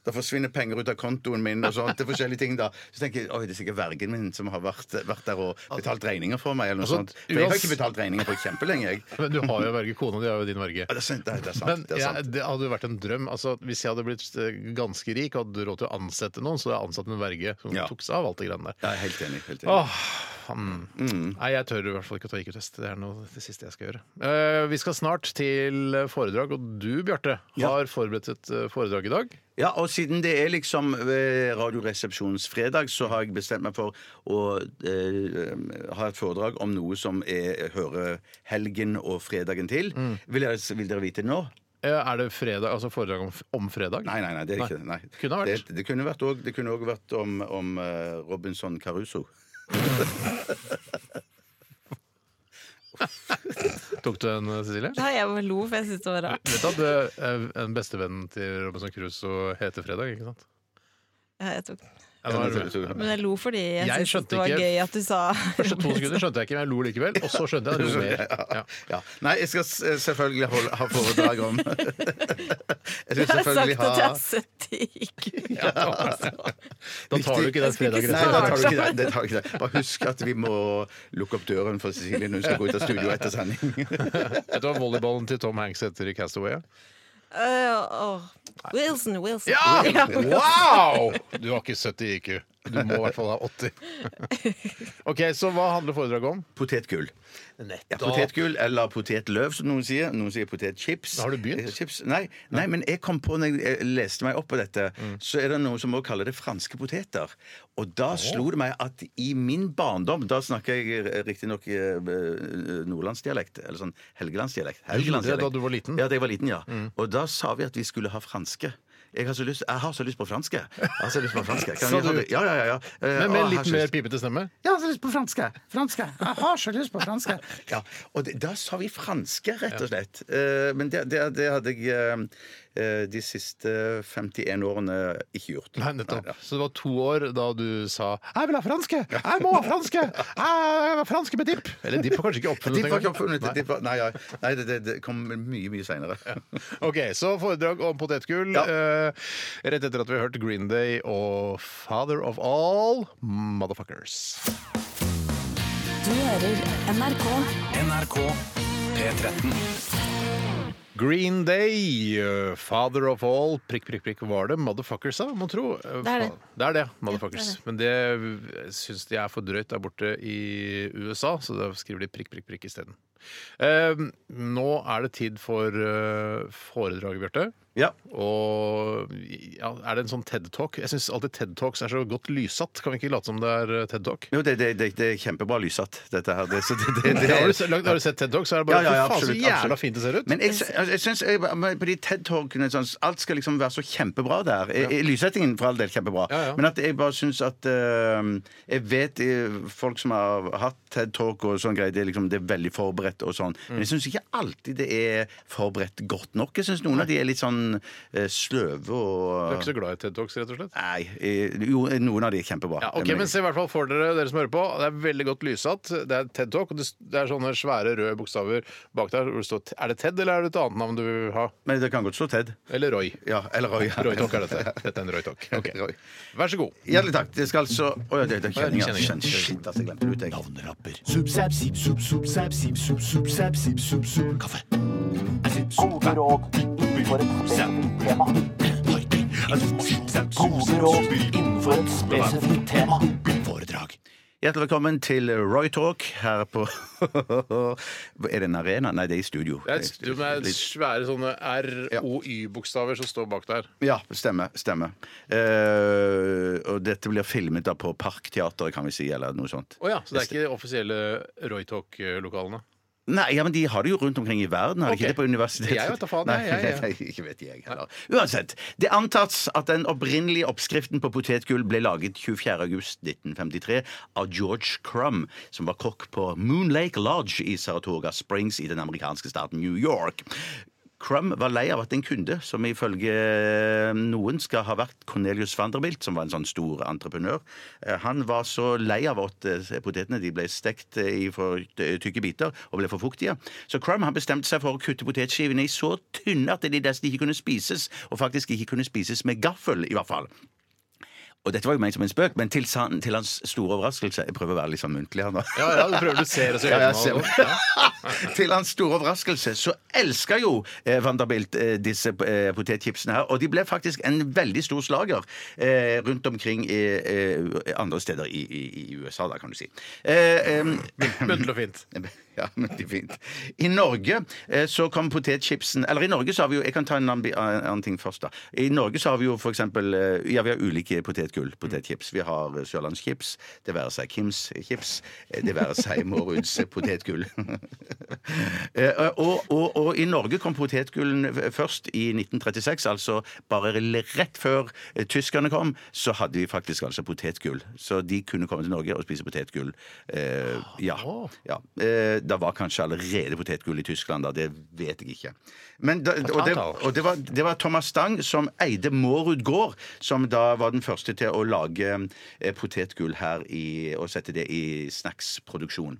det forsvinner penger ut av kontoen min og sånt, til forskjellige ting da, så tenker jeg oi, det er sikkert vergen min som har vært, vært der og betalt regninger for meg, eller noe Altså, sånt. For jeg har uans- ikke betalt regninger på kjempelenge, jeg. Ja, Men du har jo verge. Kona di er jo din verge. det er sant. Det er- det er Men sant. Det er ja, sant. det hadde jo vært en drøm. Altså, hvis jeg hadde blitt eh, ganske rik og hadde råd til å ansette noen, så hadde jeg ansatt en verge som Ja. Mm. tok seg av alt det greiene der. Jeg er helt enig. Helt enig. Åh, han. Nei, jeg tør i hvert fall ikke å ta IQ-test. Det er noe det siste jeg skal gjøre. Eh, vi skal snart til foredrag, og du, Bjarte, Ja. har forberedt et eh, foredrag i dag. Ja, og siden det er liksom eh, Radioresepsjonens fredag, så har jeg bestemt meg for å eh, ha et foredrag om noe som er, hører helgen og fredagen til. Mm. Vil, dere, vil dere vite det nå? Eh, er det fredag, altså foredrag om, om fredag? Nei, nei, nei, det er ikke det. Nei. Kunne ha vært. Det, det kunne vært òg det kunne også vært om, om eh, Robinson Caruso. Tok du en, eh, Cecilie? Da jeg bare lo, for jeg syntes det var rart. Vet du at eh, en bestevenn til Robinson Crusoe heter Fredag, ikke sant? Ja, jeg tok den. Ja, nå er du med. Men jeg lo fordi jeg, Jeg syntes skjønte det var ikke- gøy at du sa <laughs> Første to sekunder skjønte jeg ikke, men jeg lo likevel. Og så <laughs> skjønte jeg det. mer. Ja. Ja. Nei, jeg skal s- eh, selvfølgelig holde, ha foredrag om Jeg skal Jeg har sagt selvfølgelig ha at jeg har sett det i Gud. Ja. Da tar du ikke den fredagen Nei, det etter. tar du ikke. Det, det tar du ikke det. Bare husk at vi må lukke opp døren for Cecilie når hun skal gå ut av studio etter sending. <laughs> Vet du hva volleyballen til Tom Hanks heter i Castaway? Øh, åh. Wilson, Wilson. Wow! Du har ikke 70 IQ. Du må i hvert fall ha <laughs> 80. OK, så hva handler foredraget om? Potetgull. Ja, Nettopp. potetgull eller potetløv, som noen sier. Noen sier potetchips. Har du begynt? Eh, Chips. Nei, nei, men jeg kom på når jeg eh, leste meg opp på dette, Mm. så er det noen som også kaller det franske poteter. Og da slo det meg at i min barndom Da snakker jeg riktignok eh, nordlandsdialekt, eller sånn helgelandsdialekt. det da du var liten? Mm. Ja, da jeg var liten, ja. Og da sa vi at vi skulle ha franske. Jeg har så lyst, jeg har så lyst på franske. Jeg har så lyst på franske. Kan Sa vi ha du- det? Ja, ja, ja, ja. Eh, Men å, med jeg har litt så mer lyst. pipete stemme? Jeg har så lyst på franske. Franske. Jeg har så lyst på franske. Ja, og det, da sa vi franske, rett og slett. Eh, men det, det, det hadde jeg eh, eh, de siste 51 årene ikke gjort. Nei, nettopp. Nei, ja. Så det var to år da du sa 'Jeg vil ha franske! Jeg må ha franske! Jeg har franske med dipp!' Eller dipp var kanskje ikke De oppfunnet var ikke engang. oppfunnet. Nei. De var, nei, ja. nei det, det, det kom mye, mye seinere. OK, så foredrag om potetgull. Ja. eh, rett etter at vi har hørt Green Day og Father of All Motherfuckers. Du hører NRK. NRK P13. Green Day, eh, Father of All Prikk, prikk, prikk, var det Motherfuckers, da, må tro? Eh, Det er det. faen. Det er det, Motherfuckers. Men det eh, syns de er for drøyt der borte i USA, så da skriver de prikk, prikk, prikk isteden. Eh, nå er det tid for eh, foredraget, Bjarte. <laughs> Ja. Og ja, er det en sånn TED Talk? Jeg syns alltid TED Talks er så godt lyssatt. Kan vi ikke late som det er eh, TED Talk? Jo, det, det, det, det er kjempebra lyssatt, dette her. Det, så det, det, det, Har du, se- lagd- har du sett TED Talk, så er det bare Ja, ja, ja, fy faen, absolutt, så jævla absolutt. fint det ser ut. Men jeg, sy- altså, jeg synes, jeg, bare- på de TED-talkene sånn, Alt skal liksom være så kjempebra der. I- i Lyssettingen for all del kjempebra. Ja, ja. Men at jeg bare syns at eh, Jeg vet eh, folk som har hatt TED-talk og sånn greier, det, er liksom, det er veldig forberedt og sånn. Mm. Men jeg syns ikke alltid det er forberedt godt nok. Jeg syns noen av de er litt sånn eh, sløve Du er ikke og så glad i TED Talks, rett og slett? Nei. eh, Jo, noen av de er kjempebra. Ja, ok, men se i hvert fall for dere, dere som hører på. Det er veldig godt lyssatt. Det er TED Talk, og det det er sånne svære røde bokstaver bak der. Hvor det står, er det TED, eller er det et annet navn du vil ha? Men det kan godt stå TED. Eller Roy. Ja, eller Roy. ja. Roy Talk er dette. Dette er en Roy Talk. Ok. Roy. Vær så god. Hjertelig takk. Det skal altså Å ja, det, det er kjenninger. Kjenninger. Shit, altså, jeg glemte det ut, jeg. Navnerapper. Subsap, sip, sup, subsap, sip, sup, subsap, sip, sup, sup. Kaffe. Gode råd innenfor et spesifikt tema. Gode råd innenfor et spesifikt tema. Foredrag. Hjertelig velkommen til Roy Talk her på <laughs> Er det en arena? Nei, det er i studio. Det er et studio med svære sånne R-O-Y-bokstaver som står bak der. Ja, stemmer. stemmer. Eh, og dette blir filmet da på Parkteatret, kan vi si, eller noe sånt. Å ja, så det er ikke de offisielle Roy Talk-lokalene. Nei, ja, men de har det jo rundt omkring i verden, har de Ok. ikke det på universitetet? Jeg vet da faen, Nei, jeg- jeg- <laughs> nei, ikke vet jeg heller. Uansett, det antas at den opprinnelige oppskriften på potetgull ble laget 24. august 1953 av George Crumb, som var kokk på Moon Lake Lodge i Saratoga Springs i den amerikanske staten New York. Crumb var lei av at en kunde, som ifølge Eh, noen skal ha vært Cornelius Vanderbilt, som var en sånn stor entreprenør, eh, han var så lei av at eh, potetene de ble stekt eh, i for t- tykke biter og ble for fuktige. Så Crumb han bestemte seg for å kutte potetskivene i så tynne at de nesten ikke kunne spises, og faktisk ikke kunne spises med gaffel, i hvert fall. Og dette var jo ment som en spøk, men til, san- til hans store overraskelse Jeg prøver å være litt sånn muntlig her nå. Ja, ja, du prøver du ser og så Ja, gjør jeg ser man det. Ja. Til hans store overraskelse så elska jo eh, Vanderbilt eh, disse eh, potetchipsene her. Og de ble faktisk en veldig stor slager eh, rundt omkring i, eh, andre steder i, i, i USA, da, kan du si. Eh, eh, Bøddel og fint. <laughs> ja, men det er fint. I Norge eh, så kom potetchipsen Eller i Norge så har vi jo Jeg kan ta en ambi- en annen ting først, da. I Norge så har vi jo for eksempel eh, Ja, vi har ulike potetgull, potetchips. Vi har eh, Sørlandschips, det være seg Kims chips, eh, det være seg Måruds eh, potetgull. <laughs> Eh, og, og, og i Norge kom potetgullen f- først i 1936, altså bare rett før eh, tyskerne kom, så hadde vi faktisk altså potetgull. Så de kunne komme til Norge og spise potetgull. Eh, ja. Ja. Eh, det var kanskje allerede potetgull i Tyskland da. Det vet jeg ikke. Men da, og det, Potato. og det, var, det var Thomas Stang som eide Mårud gård, som da var den første til å lage eh, potetgull her i, og sette det i snacksproduksjon.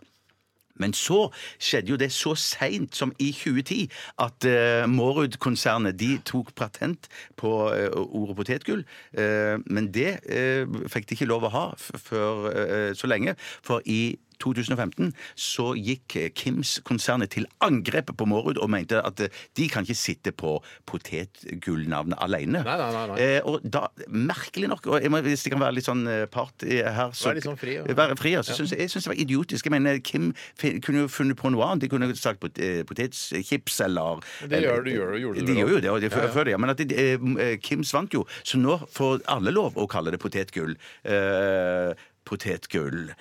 Men så skjedde jo det så seint som i 2010 at eh, Mårud-konsernet de tok patent på eh, ordet potetgull. Eh, men det eh, fikk de ikke lov å ha f før eh, så lenge, for i 2015 så gikk eh, Kims-konsernet til angrep på Mårud og mente at eh, de kan ikke sitte på potetgullnavnet alene. Nei, nei, nei, nei. Eh, og da, merkelig nok, og jeg må, hvis det kan være litt sånn eh, part eh, her så, Vær litt sånn fri, ja. Være fri, ja. Så synes jeg, jeg syns det var idiotisk. Jeg mener, Kim fin- kunne jo funnet på noe annet. De kunne jo sagt pot eh, potetchips eller Det gjør- du gjør- gjorde det De vel gjør også. jo det, og de, før- før det, ja. Men at de, eh, m- eh, Kims vant jo, så nå får alle lov å kalle det potetgull. Eh, potetgull.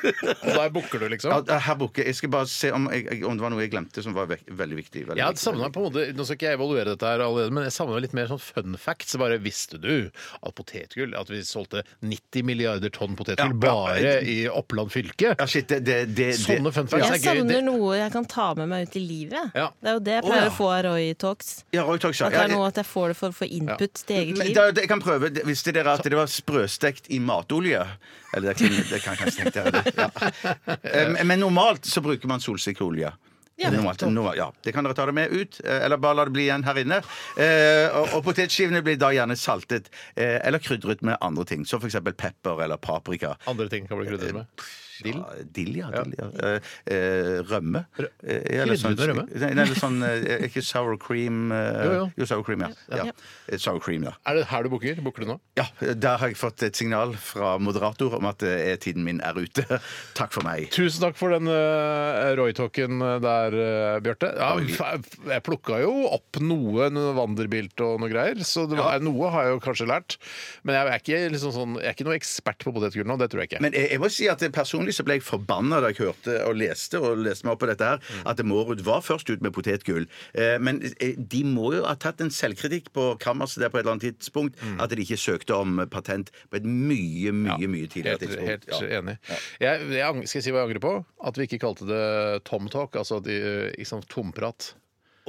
Og der bukker du, liksom? Ja, her bukker jeg. skal bare se om, jeg, om det var noe jeg glemte som var vek, veldig viktig. Veldig viktig, Jeg hadde savnet på en måte, Nå skal ikke jeg evaluere dette her allerede, men jeg savner litt mer sånn fun facts. Bare visste du at potetgull At vi solgte 90 milliarder tonn potetgull Ja, ja. bare i Oppland fylke? Ja, shit, det, det, det, det. Sånne fun facts Jeg er gøy. savner Det, noe jeg kan ta med meg ut i livet. Ja. Det er jo det jeg Å, pleier ja. å få av Roy Talks. Ja, Roy Talk sa- At det er ja, noe at jeg får det for å få input til eget Men liv. da, jeg kan prøve. Det- Visste dere at det var sprøstekt i matolje? Eller det kan, det kan kanskje tenke dere det. Ja. Eh, Men normalt så bruker man solsikkeolje. Ja, normalt, normalt, ja. Det kan dere ta det med ut, eh, eller bare la det bli igjen her inne. Eh, og, og potetskivene blir da gjerne saltet eh, eller krydret med andre ting, som f.eks. pepper eller paprika. Andre ting kan bli krydret med. Dill? Ja, dill, ja. Dill, ja. Eh, eh, rømme. Rø- Eh, Krydret med rømme? Nei, nei, eller sånn eh, Ikke sour cream eh, Jo, jo. sour cream, ja. ja. Ja. Eh, Sour cream, ja. Er det her du bukker? Bukker du nå? Ja, der har jeg fått et signal fra moderator om at eh, tiden min er ute. <laughs> Takk for meg. Tusen takk for den uh, Roy-talken der, eh, Bjarte. Ja, f- f- jeg plukka jo opp noe, noe Vanderbilt og noe greier, så det var, noe har jeg jo kanskje lært. Men jeg er ikke, liksom sånn, jeg er ikke noe ekspert på potetgull nå, det tror jeg ikke. Men jeg, jeg må si at personlig så ble jeg forbanna da jeg hørte og leste og leste meg opp på dette her, Mm. at Mårud var først ut med potetgull. Eh, men eh, de må jo ha tatt en selvkritikk på kammerset der på et eller annet tidspunkt Mm. at de ikke søkte om patent på et mye, mye mye tidligere Helt, tidspunkt. helt Ja. enig. Jeg, jeg, ang- skal jeg si hva jeg angrer på? At vi ikke kalte det tomtalk, altså de, ikke sånn tomprat.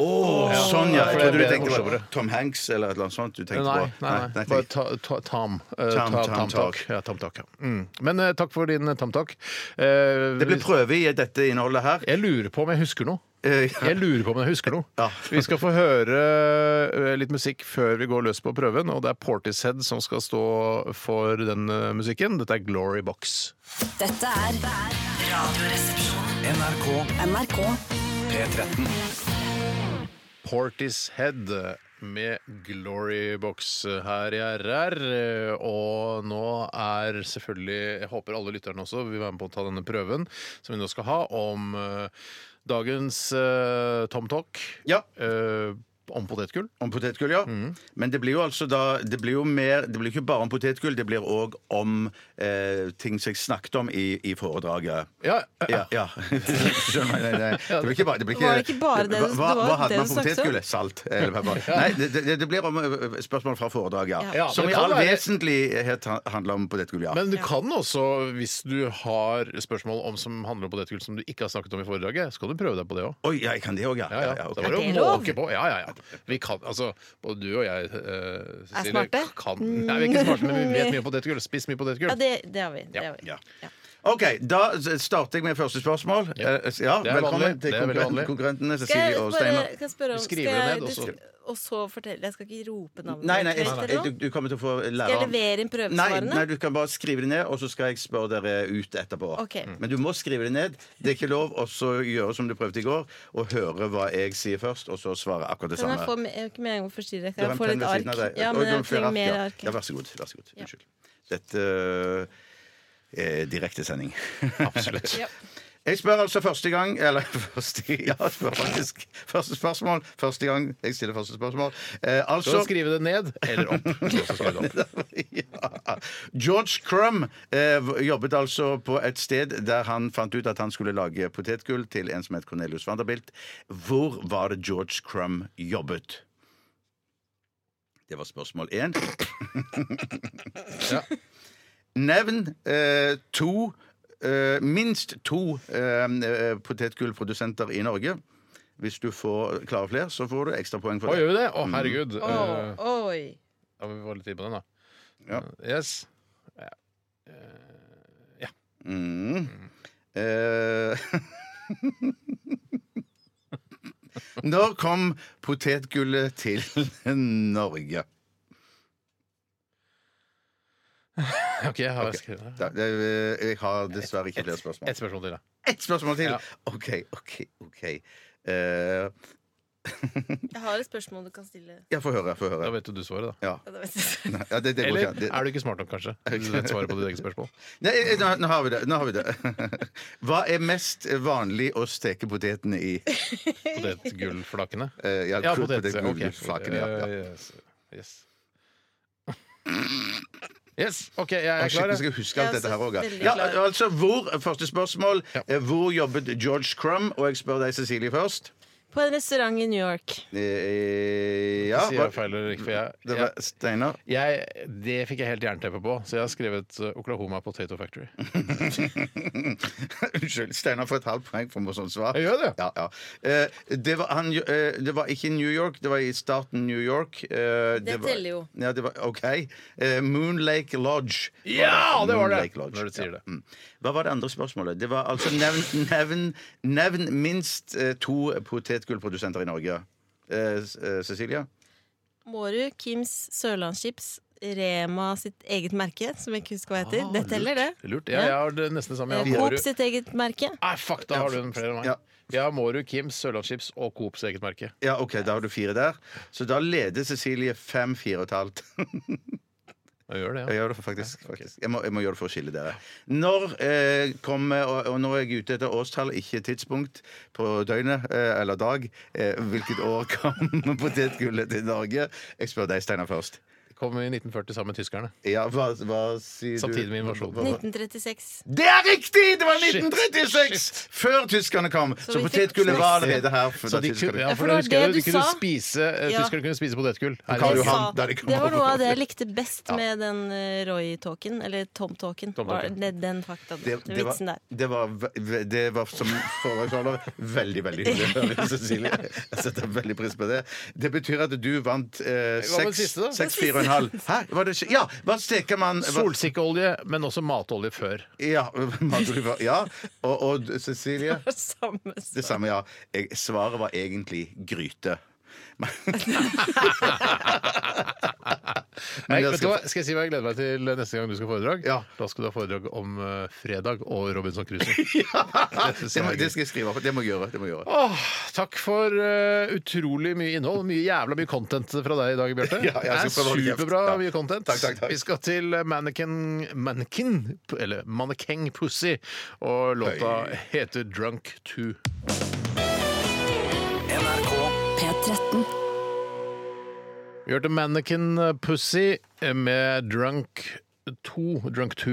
Åh, sånn, ja. Jeg for det trodde ble du tenkte på morsommere. Tom Hanks eller et eller annet sånt. Du Nei, tenkte nei, på nei, bare ta, ta, tam. eh, ta, Tam- tam- tamtalk. talk. Ja, tamtalk, ja. Mm. Men eh, takk for din eh, tamtalk. Eh, Det ble hvis- prøve i dette innholdet her. jeg lurer på om jeg husker noe. Eh, Jeg lurer på om jeg husker noe. Ja. Vi skal få høre eh, litt musikk før vi går løs på prøven, og det er Portishead som skal stå for den eh, musikken. Dette er Glory Box. Dette er Radioresepsjonen. NRK NRK. P13. Portishead med Glory Box her i RR. eh, Og nå er selvfølgelig Jeg håper alle lytterne også vil være med på å ta denne prøven som vi nå skal ha om eh, dagens eh, Tom Talk Ja. eh, om potetgull. Om potetgull, ja. Mm. Men det blir jo altså da Det blir jo mer, det blir ikke bare om potetgull, det blir òg om eh, ting som jeg snakket om i, i foredraget. Ja, eh, Ja. ja. <laughs> Skjønner du? Nei, nei. Det blir ikke bare det blir Var det ikke bare det- det hva, var hva det hadde man du på snakket om? potetgullet? Salt. eh, Eller pepper. Nei, det, det, det blir om eh, spørsmål fra foredraget, ja. Ja, Som det i kan all være- vesentlighet ha- handler om potetgull, ja. Men du kan også, hvis du har spørsmål om som handler om potetgull som du ikke har snakket om i foredraget, skal du prøve deg på det òg. Oi, ja, jeg kan det òg, ja. Ja, ja. Ja, ok. Da var Er det det å lov? måke på. Ja, ja, ja. Vi kan, altså, både du og jeg, eh, Cecilie, smarte? Mm. Kan, nei, vi er ikke smarte, men vi <laughs> vet mye om potetgull. Spist mye potetgull. Ja, det, det har vi. Det har vi. Ja. OK, da s- starter jeg med første spørsmål. Eh, Ja, Det er velkommen vanlig. til Det er veldig konkurrenten- vanlig. konkurrentene Skal Cecilie jeg og bare Steinar. kan jeg spørre om Du skriver skal det jeg- ned, og så- du- Og så fortelle. Jeg skal ikke rope navnet Nei, nei, ditt, jeg, eller noe? du, du kommer til å få Skal jeg læreren levere inn Nei, prøvesvarene? nei, du kan bare skrive det ned, og så skal jeg spørre dere ut etterpå. Ok. Mm. Men du må skrive det ned. Det er ikke lov å gjøre som du prøvde i går, og høre hva jeg sier først, og så svare akkurat det Kan samme. jeg få me- jeg er ikke meningen å forstyrre. Det Kan var en jeg få penn litt ved siden av ark? deg. Ja, Og men det var jeg flere trenger mer ja. ark. Ja, vær så god. Vær så god. Unnskyld. Dette eh, er <laughs> direktesending. <laughs> Absolutt. Ja. Jeg spør altså første gang Eller <laughs> første, ja, jeg spør faktisk første spørsmål. Første gang jeg stiller første spørsmål. Eh, Så altså skrive det ned eller opp. Så skrive det opp. <laughs> ja. George Crumb eh, jobbet altså på et sted der han fant ut at han skulle lage potetgull til en som het Cornelius Vanderbilt. Hvor var det George Crumb jobbet? Det var spørsmål én. Nevn eh, to eh, minst to eh, eh, potetgullprodusenter i Norge. Hvis du får klarer flere, så får du ekstrapoeng for Å, det. gjør vi det? Å, herregud. Mm. Eh, Å, oi. Da må vi få litt tid på den, da. Ja. Yes. <laughs> Mm. Eh, <laughs> Når kom potetgullet til Norge? OK, jeg har skrevet det. Da, det, eh, jeg har dessverre ikke flere spørsmål. Ett spørsmål til, da. Ett spørsmål til! Ja. OK, OK, OK. Eh, Jeg har et spørsmål du kan stille. ja, få høre. Få høre. Da vet jo du svaret, da. Ja. Ja, det vet jeg. Nei, ja, det, det går Eller ikke an. Det- er du ikke smart nok, <laughs> kanskje? til å svare på ditt eget spørsmål. Nei, eh, nå, nå har vi det. Nå har vi det. <laughs> Hva er mest vanlig å steke potetene i? <laughs> Potetgullflakene. Eh, ja, Ja, kul- potet. potetgull- ok. flakene, ja, ja. Eh, yes. Yes. yes. OK, jeg Å, er Shit, vi klar. jeg. skal huske alt Ja, dette så her òg. veldig Ja, klar. altså, hvor, første spørsmål. Ja. eh, Hvor jobbet George Crumb? Og jeg spør deg, Cecilie, først. På en restaurant i New York. Eh, ja, Sier jeg hva- feil eller ikke? For jeg, det var Steinar. jeg, det fikk jeg helt jernteppe på, så jeg har skrevet eh, Oklahoma Potato Factory. <laughs> Unnskyld. Steinar får et halvt poeng for noe sånt svar. Jeg gjør det. Ja, ja. Eh, det, var, han, jo- eh, det var ikke i New York, det var i staten New York. Eh, Det var- teller jo. Ja, det var, OK. Eh, Moonlake Lodge. var Ja, det var det! Moonlake Lodge. Når du sier det. Mm. Hva var det andre spørsmålet? Det var altså nevn, nevn, nevn minst eh, to potetgullprodusenter i Norge. Eh, s- eh, Cecilia? Mårud, Kims, Sørlandschips, Rema sitt eget merke, som jeg ikke husker hva heter. Det teller, det. Lurt. Ja, jeg har det nesten det samme. Jeg Eh, har Coop Mårud- sitt eget merke. Nei, fuck, da har du den flere enn meg. Ja. Jeg har Mårud, Kims, Sørlandschips og Coops eget merke. Ja, OK, da har du fire der. Så da leder Cecilie fem, fire og et halvt. <laughs> Jeg gjør det, Jeg ja. gjør det for faktisk, faktisk. Jeg, må, jeg må gjøre det for å skille dere. Når eh, kommer og, og nå er jeg ute etter årstall, ikke tidspunkt på døgnet eh, eller dag. Eh, hvilket år <laughs> kom potetgullet til Norge? Jeg spør deg, Steinar, først. Kom i 1940 sammen med tyskerne. Ja, hva, hva sier Samtidig du? med invasjonen. Hva- hva- 1936. Det er riktig! Det var Shit. 1936! Før tyskerne kom. Så, vi fikk potetgullet var knekt. allerede her. før Så da de, tyskerne- kunne- ja, Ja, for for det var husker jeg det de du kunne sa. spise, eh, Ja. Tyskerne kunne spise potetgull. Her Karl i Norge. Johan. sa- der de kom det var noe over. av det jeg likte best med den eh, Roy-talken, eller Tom-talken. Tom var Talken. Den, den faktaen. Det, det, vitsen var, der. det, var, ve- det var som foredragsholder veldig, veldig hyggelig å høre, Cecilie. Jeg setter veldig pris på det. Det betyr at du vant eh, Hva var den seks, siste, da? seks, fire og en halv. Hæ? Var det ikke? Ja! Hva steker man hva- Solsikkeolje, men også matolje før. Ja. Madriva, ja. Og, og Cecilie? Samme <laughs> Det svar. samme, ja. Jeg, svaret var egentlig gryte. <laughs> Men, Nei, Men jeg vet du skal- hva? Skal jeg si hva jeg gleder meg til neste gang du skal ha foredrag? Ja. Da skal du ha foredrag om eh, fredag og Robinson <laughs> Crusoe. synes jeg det, må, er gøy. det skal jeg skrive opp. Det må jeg gjøre. Det må jeg gjøre. Åh, takk for eh, utrolig mye innhold. Mye jævla mye content fra deg i dag, Bjarte. <laughs> Ja, jeg det er skal prøve å holde kjeft. superbra Ja. mye content. Takk, takk, takk. Vi skal til Mannequin Mannequin, eller Mannequin Pussy, og låta heter Drunk 2. P13. Vi hørte Mannequin Pussy med Drunk 2. Drunk 2.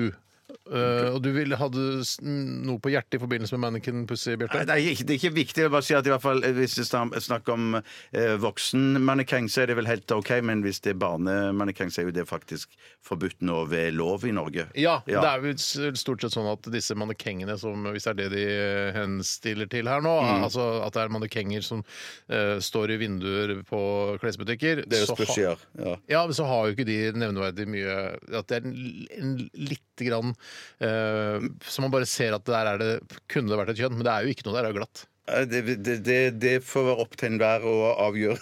Eh, og du ville, hadde s- noe på hjertet i forbindelse med Mannequin Pussy, Bjarte? Nei, ikke- det er ikke viktig. Jeg vil bare si at i hvert fall eh, Hvis det er snakk om eh, voksenmannekeng, så er det vel helt OK. Men hvis det er barnemannekeng, så er jo det faktisk forbudt nå ved lov i Norge. Ja, Ja. det er jo s- stort sett sånn at disse mannekengene som Hvis det er det de eh, henstiller til her nå, Mm. altså at det er mannekenger som eh, står i vinduer på klesbutikker Det er jo så ha- spesielt. Ja. ja, men så har jo ikke de nevneverdig mye At det er en, en lite grann eh, Så man bare ser at der er det Kunne det vært et kjønn, men det er jo ikke noe der, det er jo glatt. Eh, Det, det, det, det får være opp til enhver å avgjøre.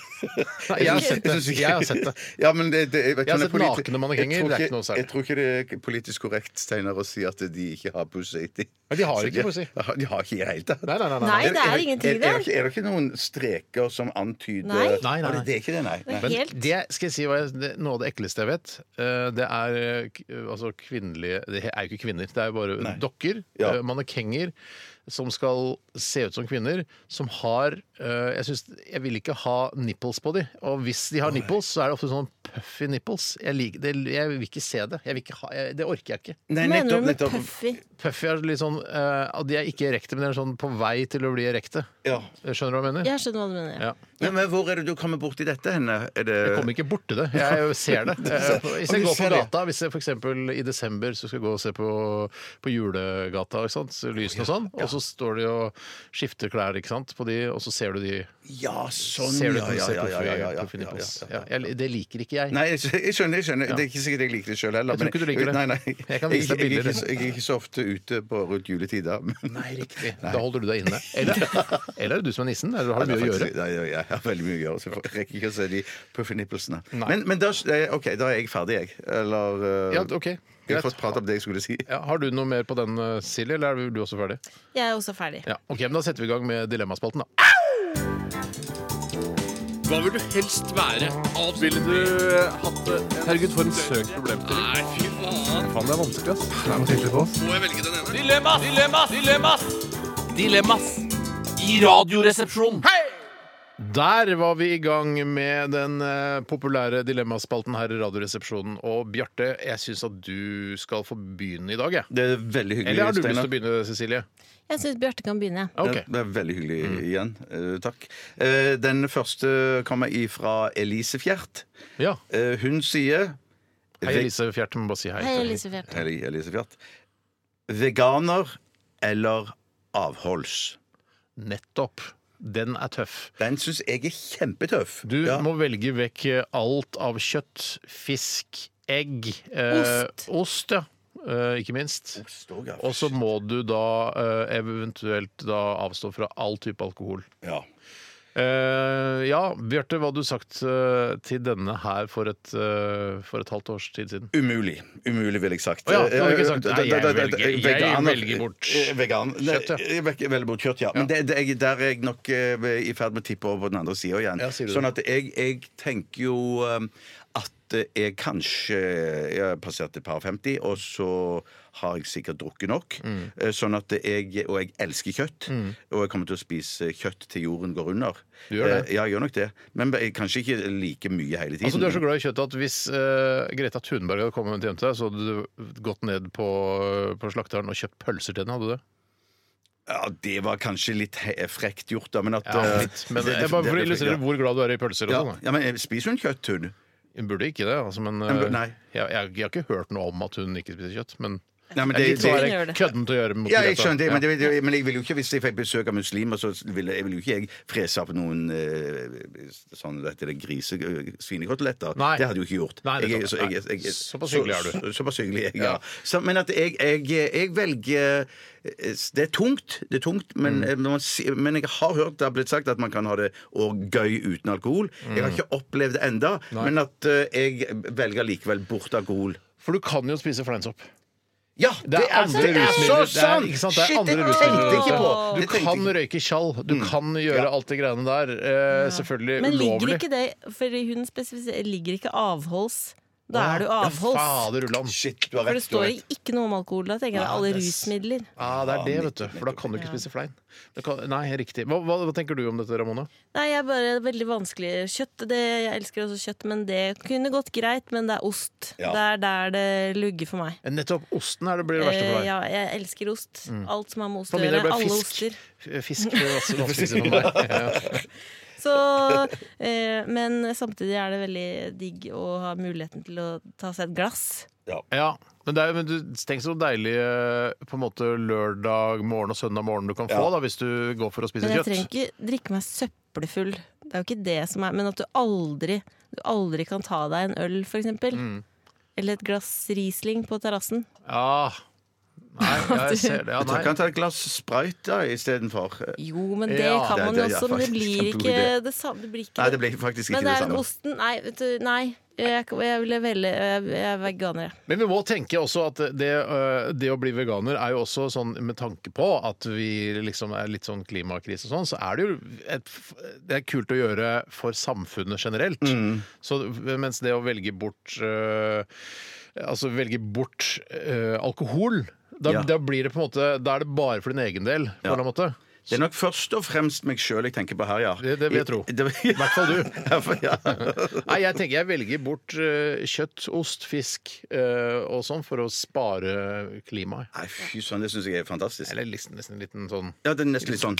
Nei, jeg har sett det. synes ikke- Jeg har sett det. <laughs> Ja, men det, det, jeg, vet Jeg har ikke om sett politi- nakne mannekenger, Jeg tror det er ikke noe særlig. Jeg tror ikke det er politisk korrekt Steiner, å si at de ikke har pussy. De, Men de har ikke pussy. De har de har ikke i det hele tatt. Nei, nei, nei, nei. Nei, det er ingenting Er, der. det ikke- er det ikke noen streker som antyder Nei. Nei, nei, Å, det- nei. Det er ikke det, nei. nei. Men- Helt. Det skal jeg si hva jeg, det, Noe av det ekleste jeg vet, eh, det er eh, k- altså kvinnelige Det er jo ikke kvinner, det er jo bare Nei. dokker. Ja. eh, Mannekenger. som skal se ut som kvinner, som har eh, Jeg synes, jeg vil ikke ha nipples på de. Og hvis de har nipples, så er det ofte sånn puffy nipples. Jeg, liker, det, jeg vil ikke se det. Jeg vil ikke ha, jeg, det orker jeg ikke. Nei, Mener nettopp, du med nettopp. puffy? Puffy er litt sånn eh, at De er ikke erekte, men de er sånn på vei til å bli erekte. Ja. Skjønner du hva jeg mener? Jeg skjønner hva du mener. Ja. Men, men hvor er det du kommer borti dette henne? Er det Jeg kommer ikke borti det. <laughs> Jeg ser det. Eh, Hvis jeg du går på ser det. gata, hvis jeg f.eks. i desember så skal jeg gå og se på, på julegata, ikke sant? så lysene og sånn, og så står de og skifter klær ikke sant? på de, og så ser du de Ja, sånn, ser du ja, at de ja, ser ja, ja, ja, ja, proffe- ja, proffe nipples. ja, ja. Ja, jeg- Det liker ikke jeg. Nei, jeg skj- jeg skjønner. jeg skjønner Det er ikke sikkert jeg liker det sjøl heller. Jeg tror men- ikke du liker det. Nei, nei. Jeg kan vise deg jeg, bilder. er ikke så- jeg er ikke så ofte ute på rundt juletider. men- Nei, riktig. Da holder du deg <laughs> inne. Eller, eller er det du som er nissen? Eller har du Nei, mye å gjøre? faktisk- Nei, jeg, jeg har veldig mye å gjøre, så jeg rekker ikke å se de puffy nipplesene. Men, men da, eh, OK, da er jeg ferdig, jeg. Eller eh, Ja, OK. Jeg har Greit. fått prate om det jeg skulle si. Ja, har du noe mer på den, eh, Silje, eller er du også ferdig? Jeg er også ferdig. Ja, ok, men Da setter vi i gang med Dilemmaspalten, da. Hva vil du helst være? Ville du hatt det? Herregud, for en søkt problemstilling. Nei, fy faen. Faen, det er vanskelig, ass. Det er noe sikkert på oss. Må jeg velge den ene? Dilemmas! Dilemmas! Dilemmas! Dilemmas! I radioresepsjonen. Der var vi i gang med den eh, populære dilemmaspalten her i Radioresepsjonen. Og Bjarte, jeg syns at du skal få begynne i dag, jeg. Det er veldig hyggelig. Eller har du lyst Steinar. til å begynne, Cecilie? Jeg syns Bjarte kan begynne. jeg. Ok. Mm. Det- Det er veldig hyggelig igjen. Eh, takk. Eh, den første kommer ifra Elise Fjert. Ja. Eh, hun sier Hei, Elise Fjert. Må bare si hei. Hei, Elise Fjert. Hei, Elise Fjert. Veganer eller avholds? Nettopp. Den er tøff. Den syns jeg er kjempetøff. Du Ja. må velge vekk alt av kjøtt, fisk, egg Ost. Ost, ja. Eh, ikke minst. Ost også, ja. Og så må du da eh, eventuelt da avstå fra all type alkohol. Ja. Eh, ja, Bjarte, hva hadde du sagt eh, til denne her for et, eh, for et halvt års tid siden? Umulig. Umulig, ville jeg sagt. Å ja, du hadde ikke sagt, Eh, nei, jeg da- da- da- velger- jeg veganer- velger bort eh, Vegan. kjøtt, ja. Nei, Jeg velger velger bort kjøtt, ja. Men det, det, jeg, der er jeg nok eh, i ferd med å tippe over på den andre sida igjen. Ja, sier du sånn at jeg, jeg tenker jo eh, at jeg kanskje eh, jeg passerte par 50, og så har jeg sikkert drukket nok. Mm. Eh, Sånn at jeg, Og jeg elsker kjøtt. Og jeg kommer til å spise kjøtt til jorden går under. Du gjør det? Eh, Ja, jeg gjør nok det. Men jeg- kanskje ikke like mye hele tiden. Altså, Du er så glad i kjøtt at hvis eh, Greta Thunberg hadde kommet hjem til deg, så hadde du gått ned på, eh, på slakteren og kjøpt pølser til henne? hadde du det? Ja, det var kanskje litt he- frekt gjort, da. Men at Ja, eh, litt. Men det- det er bare for det- å det- illustrere ja. hvor glad du er i pølser. og ja. sånn. da. ja, men jeg Spiser hun kjøtt, hun? Hun burde ikke det, altså, men eh, Hun bur- nei. jeg, jeg, jeg har ikke hørt noe om at hun ikke spiser kjøtt. Men Nei, men det er litt det- sånn Hun gjør der det. køddent å gjøre mot ja, jeg Greta. skjønner det, Ja. men, det, det- men jeg ville jo ikke hvis jeg fikk besøk av muslimer, så ville jeg ville jo ikke jeg frese opp noen eh, sånn dette, det grise eh, svinekoteletter. Nei. Det hadde jeg jo ikke gjort. Nei, det er jeg, sant. jeg, jeg, Nei, såpass hyggelig er du. så- Såpass hyggelig, jeg, ja. Ja. Så, men at jeg, jeg, jeg velger eh, Det er tungt, det er tungt men, Mm. men man, si- men jeg har hørt det har blitt sagt at man kan ha det og gøy uten alkohol. Jeg Mm. har ikke opplevd det enda men at eh, jeg velger likevel bort alkohol. For du kan jo spise fleinsopp. Ja, Det er andre så rusmidler. Det er- sant! ikke sant, det er Shit, andre det rusmidler. tenkte jeg ikke på! Du Det tenkte jeg kan ikke- røyke tjall. Du kan gjøre Ja. alt de greiene der. Eh, Selvfølgelig Men ligger ulovlig. ikke det Fordi hun spesifiserer Ligger ikke avholds? Da er du Ja, avholds. fader, Ulland. Shit, du har For det rett. du har står rett. ikke noe om alkohol. Da tenker jeg det er alle rusmidler. Ja, det er det, vet du. For da kan du ikke spise flein. Du kan, nei, riktig. Hva, hva, hva tenker du om dette, Ramona? Nei, jeg er bare veldig vanskelig kjøtt. Det, jeg elsker også kjøtt, men det kunne gått greit. Men det er ost. Ja. Det er der det lugger for meg. Eh, Nettopp osten er det blir det verste for Eh, deg. Mm. ja, jeg elsker ost. Alt som har med ost For å min del gjøre. ble Alle fisk. oster. F- Fisk blir også vanskeligere for meg. Ja. Så, <laughs> eh, men samtidig er det veldig digg å ha muligheten til å ta seg et glass. Ja. Men, det er, men du, tenk så deilig eh, på en måte lørdag morgen og søndag morgen du kan få Ja. da, hvis du går for å spise Men jeg kjøtt. trenger ikke drikke meg søppelfull. Det er jo ikke det som er Men at du aldri, du aldri kan ta deg en øl, for eksempel. Mm. Eller et glass Riesling på terrassen. Ja. Nei, jeg ser det. Ja, Så kan nei. jeg ta et glass sprite da istedenfor. Jo, men det Ja. kan Det- man det jo er også, men det faktisk blir kjempegod ikke idé. det samme. Det blir ikke Nei, det blir faktisk ikke men det det er samme. osten Nei, vet du, nei. Jeg, jeg, ville velge, jeg, jeg er veganer, jeg. Men vi må tenke også at det, øh, det å bli veganer er jo også sånn med tanke på at vi liksom er litt sånn klimakrise og sånn, så er det jo et, det er kult å gjøre for samfunnet generelt. Så, mens det å velge bort øh, altså velge bort øh, alkohol Da, Ja. da blir det på en måte Da er det bare for din egen del, på en eller annen måte. Det er nok først og fremst meg sjøl jeg tenker på her, ja. Det- det vil jeg tro. I hvert fall du. <laughs> ja. <laughs> Nei, jeg tenker jeg velger bort eh, kjøtt, ost, fisk eh, og sånn for å spare klimaet. Nei, fy søren, det syns jeg er fantastisk. Eller nesten, nesten en liten sånn Ja, det er nesten litt sånn,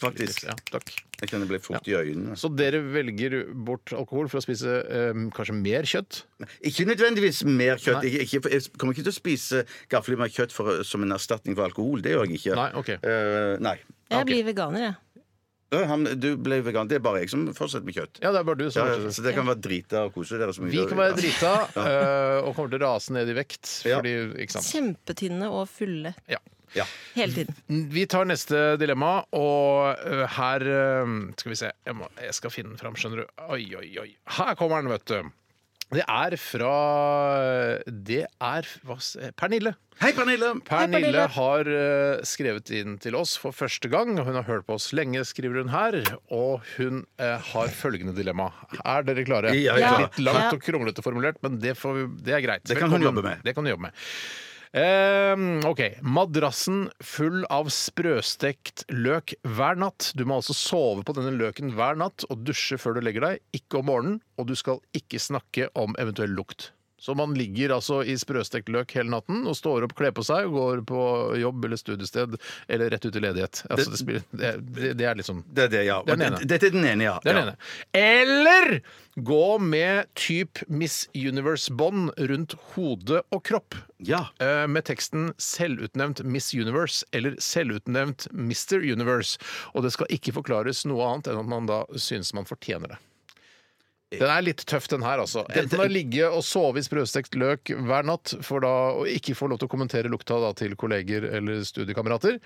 faktisk. Ja, takk. Jeg kan bli fort i øynene. altså. Så dere velger bort alkohol for å spise eh, kanskje mer kjøtt? Ikke nødvendigvis mer kjøtt. Nei. Jeg, ikke, jeg kommer ikke til å spise gafler med kjøtt for, som en erstatning for alkohol. Det gjør jeg ikke. Nei, ok. Eh, nei. Jeg blir veganer, jeg. Øh, Han, du ble vegan. Det er bare jeg som fortsetter med kjøtt. Ja, det er bare du som Ja, har kjøtt. så dere kan være drita og kose dere. så mye Vi dere kan være vil. drita eh, og kommer til å rase ned i vekt. Ja. Fordi, ikke sant? Kjempetynne og fulle Ja. Ja. hele tiden. Vi tar neste dilemma, og eh, her eh, Skal vi se. Jeg, må, jeg skal finne den fram, skjønner du. Oi, oi, oi. Her kommer den, vet du. Det er fra Det er hva, s- eh, Pernille. Hei, Pernille! Pernille har eh, skrevet inn til oss for første gang. Hun har hørt på oss lenge, skriver hun her. Og hun eh, har følgende dilemma. Er dere klare? Ja, vi er klare. Litt langt Ja. og kronglete formulert, men det, får vi, det er greit. Det kan hun Velkommen. jobbe med. Det kan hun jobbe med. Eh, OK. Madrassen full av sprøstekt løk hver natt. Du må altså sove på denne løken hver natt og dusje før du legger deg, ikke om morgenen. Og du skal ikke snakke om eventuell lukt. Så man ligger altså i sprøstekt løk hele natten og står opp, kler på seg og går på jobb eller studiested eller rett ut i ledighet. Altså, det, spiller, det, det, det er liksom Det er det, ja. Den ene. Dette dette er den ene, ja. det er Ja. den ene. Eller gå med type Miss Universe-bånd rundt hode og kropp. Ja. Eh, Med teksten 'Selvutnevnt Miss Universe' eller 'Selvutnevnt Mr. Universe'. Og det skal ikke forklares noe annet enn at man da synes man fortjener det. Eh. Den er litt tøff, den her, altså. Enten å ligge og sove i sprøstekt løk hver natt for da å ikke få lov til å kommentere lukta da til kolleger eller studiekamerater, <laughs>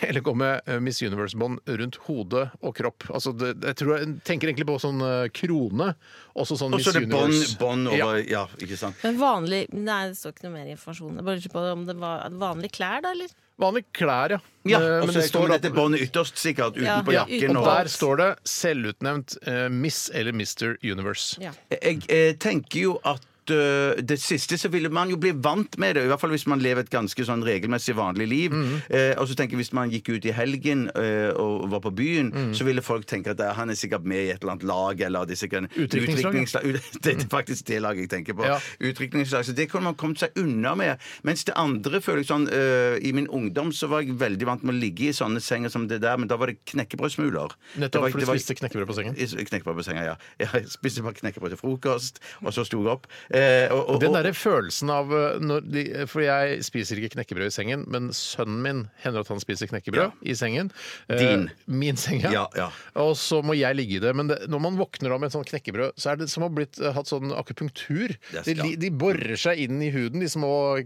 eller gå med eh, Miss Universe-bånd rundt hode og kropp. Altså, det, jeg tror jeg tenker egentlig på sånn eh, krone, også sånn Og så Miss er det Universe. bånd bånd Ja. over ja. ikke sant? Men vanlig Nei, det står ikke noe mer informasjon. Jeg bare lurer på om det var vanlige klær, da, eller? Vanlige klær, ja. Ja, Eh, og men så det kommer står dette da- båndet ytterst, sikkert, utenpå Ja, jakken. uten- Og Og der står det selvutnevnt eh, Miss eller Mr. Universe. Ja. Jeg, eh, tenker jo at eh, det siste så ville man jo bli vant med det, i hvert fall hvis man lever et ganske sånn regelmessig vanlig liv. Mhm. eh, og så tenker jeg Hvis man gikk ut i helgen eh, og var på byen, Mhm. så ville folk tenke at eh, han er sikkert med i et eller annet lag. eller det er sikkert en Utrykningslag, ja. utrykningsla- ut- <laughs> Det er faktisk det laget jeg tenker på. Mhm. Ja. Utrykningslag, så Det kunne man kommet seg unna med. Mens det andre føler jeg sånn eh, I min ungdom så var jeg veldig vant med å ligge i sånne senger som det der, men da var det knekkebrødsmuler. Det var- Nettopp, for det du var- spiste knekkebrød på sengen. jeg Knekkebrød på senga, ja. Jeg spiste bare knekkebrød til frokost, og så sto jeg opp. Eh, og, og, Den derre følelsen av eh, når de, For jeg spiser ikke knekkebrød i sengen, men sønnen min hender at han spiser knekkebrød i sengen. Eh, Din. Min seng, ja. Ja, ja. Og så må jeg ligge i det. Men det, når man våkner av med en sånn knekkebrød, så er det som å ha blitt, eh, hatt sånn akupunktur. Det De, skal- li- de borer seg inn i huden, de små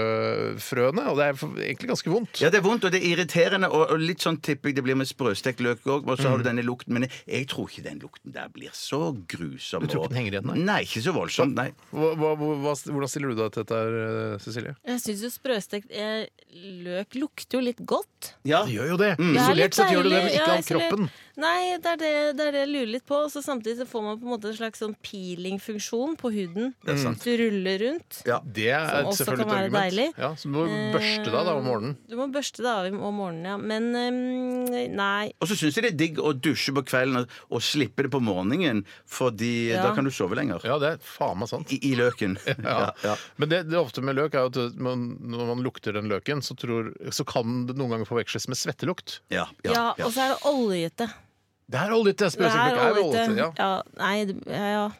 knekkebrødfrøene, og det er for- egentlig ganske vondt. ja, det er vondt, og det er irriterende, og, og litt sånn tipper jeg det blir med sprøstekt løk òg. Og så Mhm. har du denne lukten, men jeg, jeg tror ikke den lukten der blir så grusom. Du tror ikke og- den henger igjen, nei? nei? ikke så voldsomt, nei. Hva, hva, hva, hvordan stiller du deg til dette, her, eh, Cecilie? Jeg syns jo sprøstekt eh, løk lukter jo litt godt. Ja. Det gjør jo det. Mm. Det er Isolert litt sett gjør du det, men deilig. ikke Ja, av isolert. kroppen. Nei, det er det, det er det jeg lurer litt på. Og så samtidig så får man på en måte en slags sånn peelingfunksjon på huden. sant. Du ruller rundt. Ja. Det er Som også selvfølgelig kan et være argument. deilig. Ja, så du må Eh, børste deg da om morgenen. Du må børste deg av om morgenen, ja. Men ehm, nei. Og så syns jeg det er digg å dusje på kvelden og, og slippe det på morgenen, fordi Ja. da kan du sove lenger. Ja, det er faen meg sant. I, I løken. Ja. Ja, ja. Men det, det er ofte med løk er jo at man, når man lukter den løken, så, tror, så kan det noen ganger forveksles med svettelukt. Ja, Ja, og så er det oljete. Det er oljete! Det er Sprøsteklukke er oljete. Ja. Ja, nei, det- ja, ja.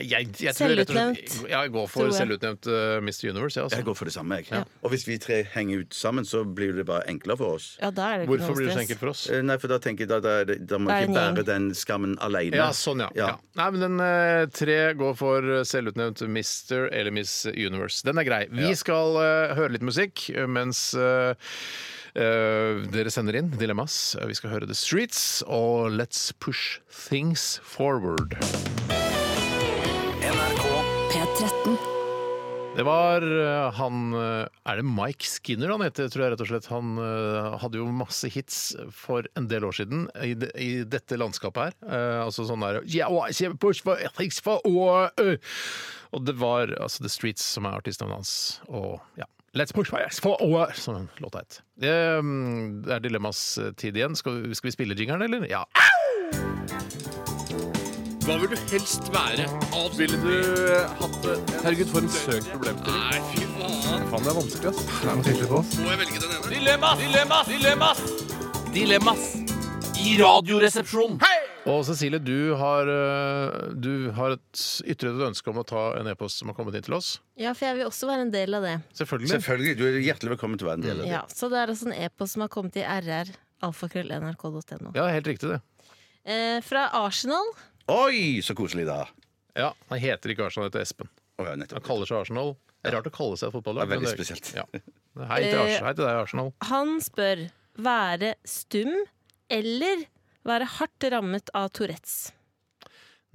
Jeg, jeg, tror rett og slett- Selvutnevnt. Ja, jeg går for Tror jeg. selvutnevnt eh, Mr. Universe. Ja, Jeg altså. går for det samme, jeg. Og hvis vi tre henger ut sammen, så blir det bare enklere for oss. ja, da er det ikke Hvorfor blir noe det så stress. enkelt for oss? Eh, Nei, for da tenker jeg da, da, er det- da må Da er jeg ikke det en bære gjeng. den skammen alene. Ja, sånn, ja. ja. Nei, men den eh, tre går for eh, selvutnevnt Mr. eller Miss Universe. Den er grei. Vi skal eh, høre litt musikk eh, mens eh, eh, dere sender inn dilemmas. Eh, Vi skal høre The Streets og Let's Push Things Forward. P13. Det var eh, han eh, Er det Mike Skinner han heter, tror jeg rett og slett. Han eh, hadde jo masse hits for en del år siden i, de, i dette landskapet her. Eh, altså sånn der yeah, well, I push for ethics for- og, øh. og det var altså The Streets som er artistnavnet hans. Og ja. Let's push fires for over Som låta het. Ehm, Det er dilemmas tid igjen. Skal, vi- skal vi spille jingeren, eller? Ja. Hva vil du helst være? Avspille du Herregud, for en søk problem. Nei, fy faen. Faen, det er vanskelig, ass. Må jeg velge den ene? Dilemmas, dilemmas, dilemmas. Dilemmas i Radioresepsjonen. Og Cecilie, du har, eh, du har et ytret et ønske om å ta en e-post som har kommet inn til oss. Ja, for jeg vil også være en del av det. Selvfølgelig. Selvfølgelig. Du er hjertelig velkommen til å være en del av det. Ja, så det er altså en e-post som har kommet til rr. Alfakrøll.nrk.no. Ja, helt riktig det. Eh, fra Arsenal. Oi, så koselig, da. Ja, Han heter ikke Arsenal, han heter Espen. Å, ja, Han nettopp. kaller seg Arsenal. Det er rart å kalle seg et fotballag. Det er men veldig spesielt. Ja. Hei, til Ars Eh, Hei til deg, Arsenal. Han spør være stum eller være hardt rammet av Tourettes.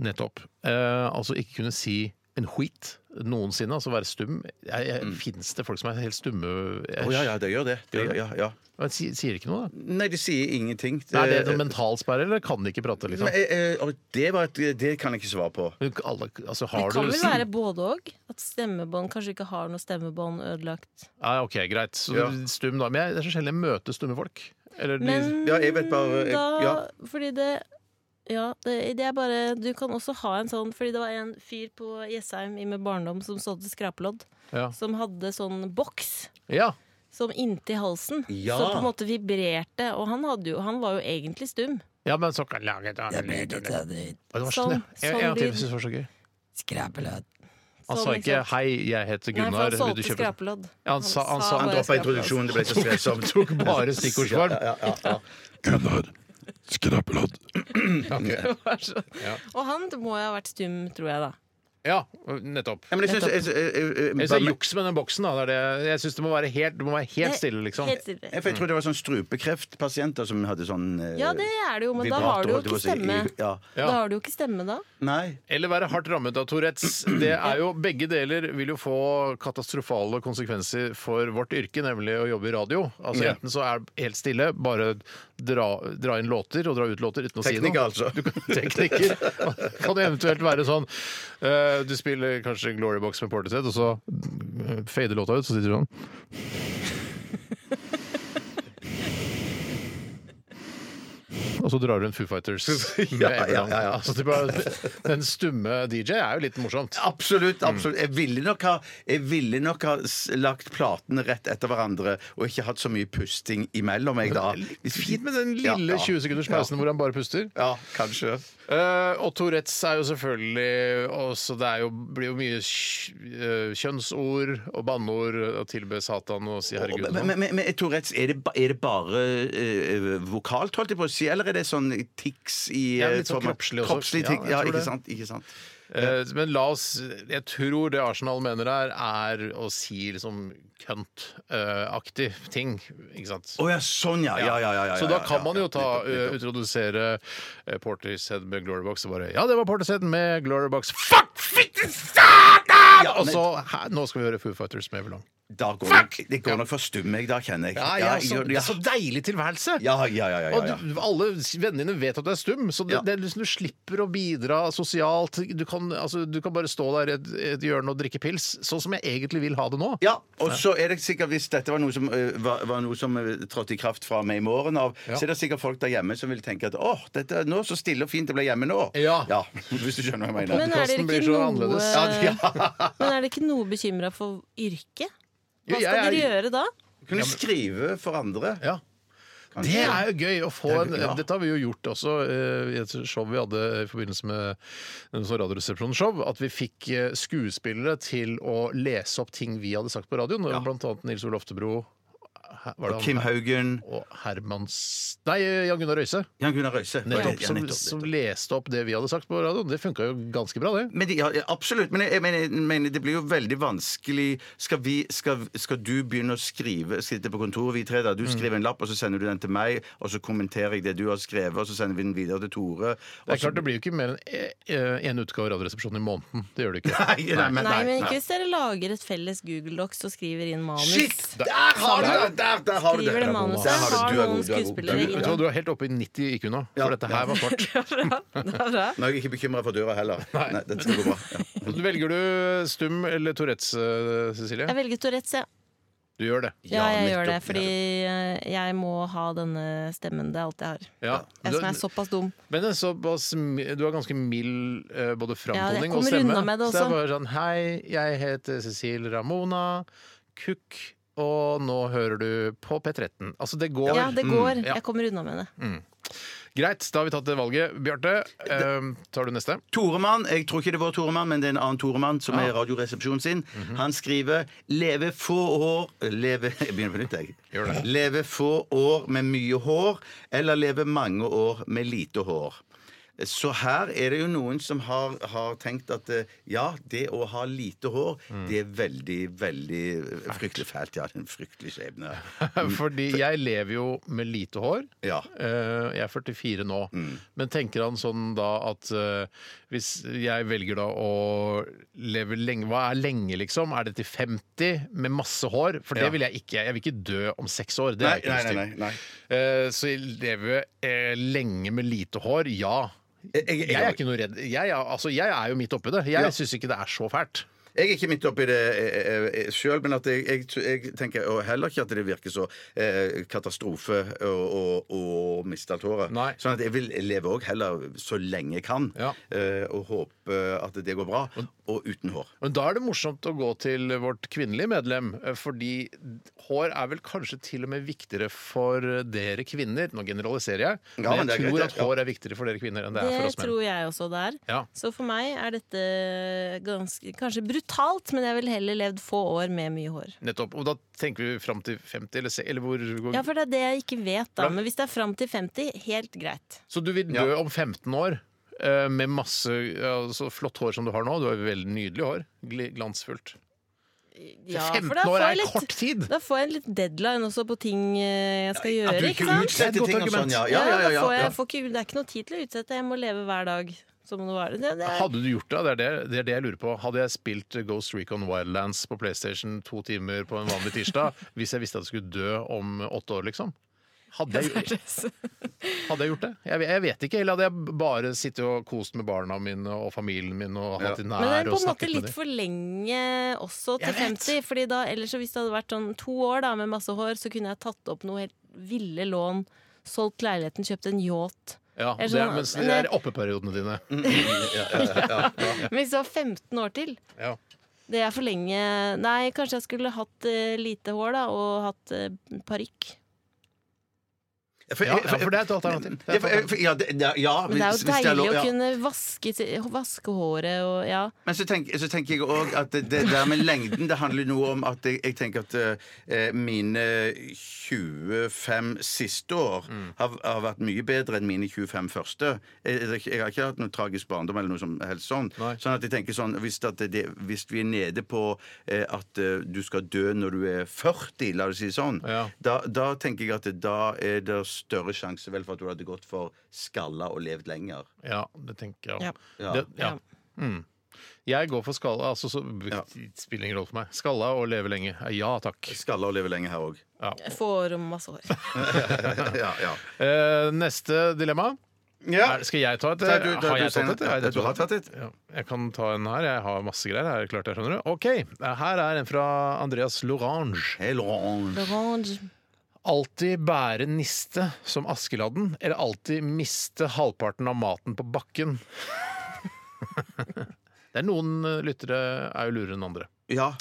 Nettopp. Eh, altså ikke kunne si en skit noensinne, altså være stum. Jeg, jeg, Fins det folk som er helt stumme? Jeg, Mm. Å ja, ja, det gjør det. det gjør, ja, ja. Men si- sier ikke noe, da? Nei, de sier ingenting. Er det en mentalsperre, eller kan de ikke prate? liksom? Men, eh, eh, og det, var et, det kan jeg ikke svare på. Men Alle, altså, Det har kan du vel være både òg? At stemmebånd kanskje ikke har noe stemmebånd ødelagt. Ja, OK, greit. Så Ja. du- stum, da. Men jeg, det er så sjelden jeg møter stumme folk. Eller de- Men Ja, jeg vet bare- Mm, da ja. Fordi det ja, det, det er bare Du kan også ha en sånn Fordi det var en fyr på Jessheim i med barndom som sådde skrapelodd, Ja. som hadde sånn boks ja. som inntil halsen. Ja. Som på en måte vibrerte. Og han, hadde jo, han var jo egentlig stum. ja, men så kan lage det Sånn lyd. Å, Det var sånn, Sånn- ja. En- En gang til, sånn jeg synes det var så gøy. Skrapelød. Han Sånn, sa ikke liksom. 'hei, jeg heter Nei, for Gunnar'. vil han du kjøpe solgte skrapelodd. Ja, han sa- han sa- han bare Droppa skrapelodd. introduksjonen, det ble <laughs> så strevsomt. <laughs> Tok bare stikkordsform. Gunnar Skrapelodd. Og han må jo ha vært stum, tror jeg, da. Ja, nettopp. Ja, men jeg synes, jeg, jeg, jeg, Jeg jeg, synes det er juks med den boksen. da det er det. Jeg synes det må være helt, Du må være helt stille, liksom. Helt stille. jeg, for jeg tror det var sånn strupekreftpasienter som hadde sånn eh, Ja, det er det jo, men da vibrator, har du jo holdt jeg på ikke å si, i- stemme. Ja. Ja. Da har du jo ikke stemme, da. Nei. Eller være hardt rammet av Tourettes. Det er jo, begge deler vil jo få katastrofale konsekvenser for vårt yrke, nemlig å jobbe i radio. Altså Ja. Enten så er det helt stille, bare dra, dra inn låter og dra ut låter uten å si Tekniker, noe. altså. <laughs> Du kan, teknikker. Kan det eventuelt være sånn eh, Du spiller kanskje Glory Box med Portishead, og så eh, fader låta ut, så sitter du sånn. Og så drar du en Foo <laughs> Fighters. med Ja, ja, Everland. ja, ja. Altså, det er bare, den stumme DJ er jo litt morsomt. Absolutt. Mm. absolutt Jeg ville nok ha, jeg ville nok ha s- lagt platene rett etter hverandre og ikke hatt så mye pusting imellom. Jeg, da. Fint med den lille 20 sekunders pausen hvor han bare puster. Ja, kanskje. Eh, og Tourettes er jo selvfølgelig også Det er jo, blir jo mye kj- eh, kjønnsord og banneord og tilbe Satan og si herregud. og Men, sånn. men, men jeg tror rett, er, det, ba- er det bare eh, vokalt, holdt jeg på å si, eller er det sånn tics i Ja, eh, litt sånn form av- kroppslig også. kroppslig Ja, tics, jeg ja, tror ikke det. sant, ikke sant. Eh, Men la oss Jeg tror det Arsenal mener her, er å si liksom kønt-aktig ting. Ikke sant? Å ja, sånn, ja. ja, ja, ja, ja Så da ja, ja, kan man jo ja, ta nettopp, nettopp. eh, introdusere eh, Portishead med Glorybox og bare Ja, det var Portishead med Glorybox. Fuck! Fitte satan! Ja, og men- så hæ, Nå skal vi høre Foo Fighters med Everlong. Da går nok, det går nok for stum, jeg, da, kjenner jeg. Ja, jeg gjør- ja. deilig tilværelse! Ja, ja, ja, ja, ja, ja. Og du, alle vennene dine vet at du er stum, så det, Ja. det er liksom, du slipper å bidra sosialt. Du kan, altså, du kan bare stå der i et, et hjørne og drikke pils, sånn som jeg egentlig vil ha det nå. Ja, og så er det sikkert Hvis dette var noe som, eh, var, var noe som eh, trådte i kraft fra meg i morgen av, Ja. så er det sikkert folk der hjemme som vil tenke at åh, dette er nå så stille og fint det ble hjemme nå. Ja. <laughs> Hvis du skjønner hva jeg Men mener. er Podcasten dere blir ikke så noe, <laughs> annerledes. <laughs> men er dere ikke noe bekymra for yrket? Hva Jo, jeg skal er- dere gjøre da? Kunne skrive for andre. Ja. Det er jo gøy å få Det er en gøy, ja. Dette har vi jo gjort også eh, i et show vi hadde i forbindelse med en sånn Radioresepsjonsshow, at vi fikk eh, skuespillere til å lese opp ting vi hadde sagt på radioen. og Blant annet Nils Ole Oftebro. Hæ- var det han- Kim Haugen, Og Hermans Nei, Jan Gunnar Røise. Jan Gunnar Røise. var det? Nettopp, Ja, som, nettopp, som nettopp. leste opp det vi hadde sagt på radioen. Det funka jo ganske bra, det. Men de, ja, absolutt. Men jeg, jeg, mener, jeg mener det blir jo veldig vanskelig Skal, vi, skal, skal du begynne å skrive Sitte på kontoret, vi tre der. Mm. Du skriver en lapp, og så sender du den til meg, og så kommenterer jeg det du har skrevet, og så sender vi den videre til Tore. Det er klart, det blir jo ikke mer enn én utgave av Radioresepsjonen i måneden. Det gjør <laughs> det ikke. Nei, nei, men, Nei, men ikke hvis dere lager et felles Google Docs og skriver inn manus. <laughs> Shit! Der har du det! Der, der har du det. Skriver det Der manuset, har du- har du er god, noen du er god. skuespillere Vet du hva, inne. Du er helt oppe i 90 IQ nå, for <laughs> Ja. dette her var kort. Det er bra. Nå er jeg ikke bekymra for døra heller. Nei, Dette skal gå bra. Ja. Velger du stum eller Tourettes, eh, Cecilie? Jeg velger Tourettes, jeg. Du Du gjør det. Ja, jeg gjør det, nettopp, fordi eh, jeg må ha denne stemmen. Det er alt jeg har. Ja. Jeg som er Du, såpass dum. men det er såpass, mi- du har ganske mild eh, både Ja, jeg framtoning og kommer stemme. unna med det Så det også. er bare sånn Hei, jeg heter Cecil Ramona Kukk, og nå hører du på P13. Altså, det går. Ja, det går. Mm, ja. Jeg kommer unna med det. Greit, da har vi tatt det valget. Bjarte, eh, tar du <laughs> neste? Toremann, jeg tror ikke det var Toremann, men det er en annen Toremann som er Radioresepsjonen sin. Mhm. Han skriver 'Leve få år Leve <laughs> Jeg begynner på nytt, jeg. Gjør det. Leve få år med mye hår, eller leve mange år med lite hår. Så her er det jo noen som har, har tenkt at eh, ja, det å ha lite hår, Mm. det er veldig, veldig fryktelig fælt. Ja, det er en fryktelig <laughs> skjebne. Fordi jeg lever jo med lite hår. Mm. Ja. Mm. Eh, Jeg er 44 nå. Men tenker han sånn da at eh, hvis jeg velger da å leve lenge Hva er lenge, liksom? Er det til 50 med masse hår? For det Ja. vil jeg ikke. Jeg vil ikke dø om seks år. Det Nei, er jeg ikke nei, lyst til. nei, nei. Eh, Så jeg lever eh, lenge med lite hår, ja. Jeg- jeg- jeg- Jeg er ikke noe redd. Jeg er, altså, jeg er jo midt oppi det. Jeg Ja. syns ikke det er så fælt. Jeg er ikke midt oppi det eh, sjøl, men at jeg, jeg, jeg tenker og heller ikke at det virker så eh, katastrofe å, å, å miste alt håret. Nei. Sånn at jeg vil leve òg heller så lenge jeg kan, Ja. eh, og håpe at det går bra. Og uten hår. Men da er det morsomt å gå til vårt kvinnelige medlem, eh, fordi hår er vel kanskje til og med viktigere for dere kvinner. Nå generaliserer jeg, men, men det jeg er tror greit, at ja. hår er viktigere for dere kvinner enn det, er for Det oss menn. tror jeg også det er. Ja. Så for meg er dette ganske, kanskje brutalt, men jeg ville heller levd få år med mye hår. Nettopp. Og da tenker vi fram til 50, eller, se- eller hvor, hvor Ja, for det er det jeg ikke vet, da. Men hvis det er fram til 50, helt greit. Så du vil dø om 15 år eh, med masse ja, så flott hår som du har nå. Du har jo veldig nydelig hår. Gl- Glansfullt. Ja, 15 for da år får er jeg litt- kort tid! Da får jeg en litt deadline også på ting eh, jeg skal At gjøre. du ikke ikke sant? Det er et utsetter godt ting og argument. sånn, ja. Ja, Ja, ja, ja, da ja, får jeg, ja. får ikke, det er ikke noe tid til å utsette. Jeg må leve hver dag som om det var det. det, det Hadde du gjort det? Det er det, det er det jeg lurer på. Hadde jeg spilt Ghost Recon Wildlands på PlayStation to timer på en vanlig tirsdag hvis jeg visste at jeg skulle dø om åtte år, liksom? Hadde jeg, gjort- hadde jeg gjort det? Jeg, ve- jeg vet ikke. Eller hadde jeg bare sittet og kost med barna mine og familien min og hatt de men det nær er på og en måte snakket med litt dem? for lenge også til Jeg vet. 50. Fordi da, ellers så hvis det hadde vært sånn to år da, med masse hår, så kunne jeg tatt opp noe helt ville lån, solgt leiligheten, kjøpt en yacht. Ja, og Jeg det, er- skjønner. mens det er oppeperiodene dine. Mm. Men hvis det var 15 år til Ja. Det er for lenge Nei, kanskje jeg skulle hatt eh, lite hår da, og hatt uh, parykk. For- Ja, ja, for det er et alternativ. Det er Ja, et for- eh, for- ja, det- det- ja, Men det er hvis- jo hvis deilig lov, ja. å kunne vaske, vaske håret og ja. Men så, tenk, så tenker jeg òg at det, det der med lengden Det handler noe om at jeg, jeg tenker at eh, mine 25 siste år Mm. har, har vært mye bedre enn mine 25 første. Jeg, jeg, jeg har ikke hatt noen tragisk barndom eller noe som helst sånn. Nei. Sånn at jeg tenker sånn Hvis, at det, hvis vi er nede på eh, at eh, du skal dø når du er 40, la oss si det sånn, Ja. da, da tenker jeg at det, da er det større sjanse vel for at du hadde gått for skalla og levd lenger. Ja, det tenker jeg. også. Ja. Det, ja. Mm. Jeg går for skalla. Altså, så Ja. spiller ingen rolle for meg. Skalla og leve lenge. Ja takk. Skalla og leve lenger her òg. Få hår og masse hår. <laughs> <laughs> ja, ja. Eh, neste dilemma. Ja. Er, skal jeg ta et? Ta du- ta har du jeg tatt eh, senere. et? Ja, det Du har tror jeg. tatt et. Ja, jeg kan ta en her. Jeg har masse greier. her, klart jeg skjønner det. OK, eh, her er en fra Andreas Lorange. Hei, Laurent. Orange. Alltid bære niste som Askeladden, eller alltid miste halvparten av maten på bakken? <laughs> det er noen eh, lyttere er jo lurere enn andre. Ja.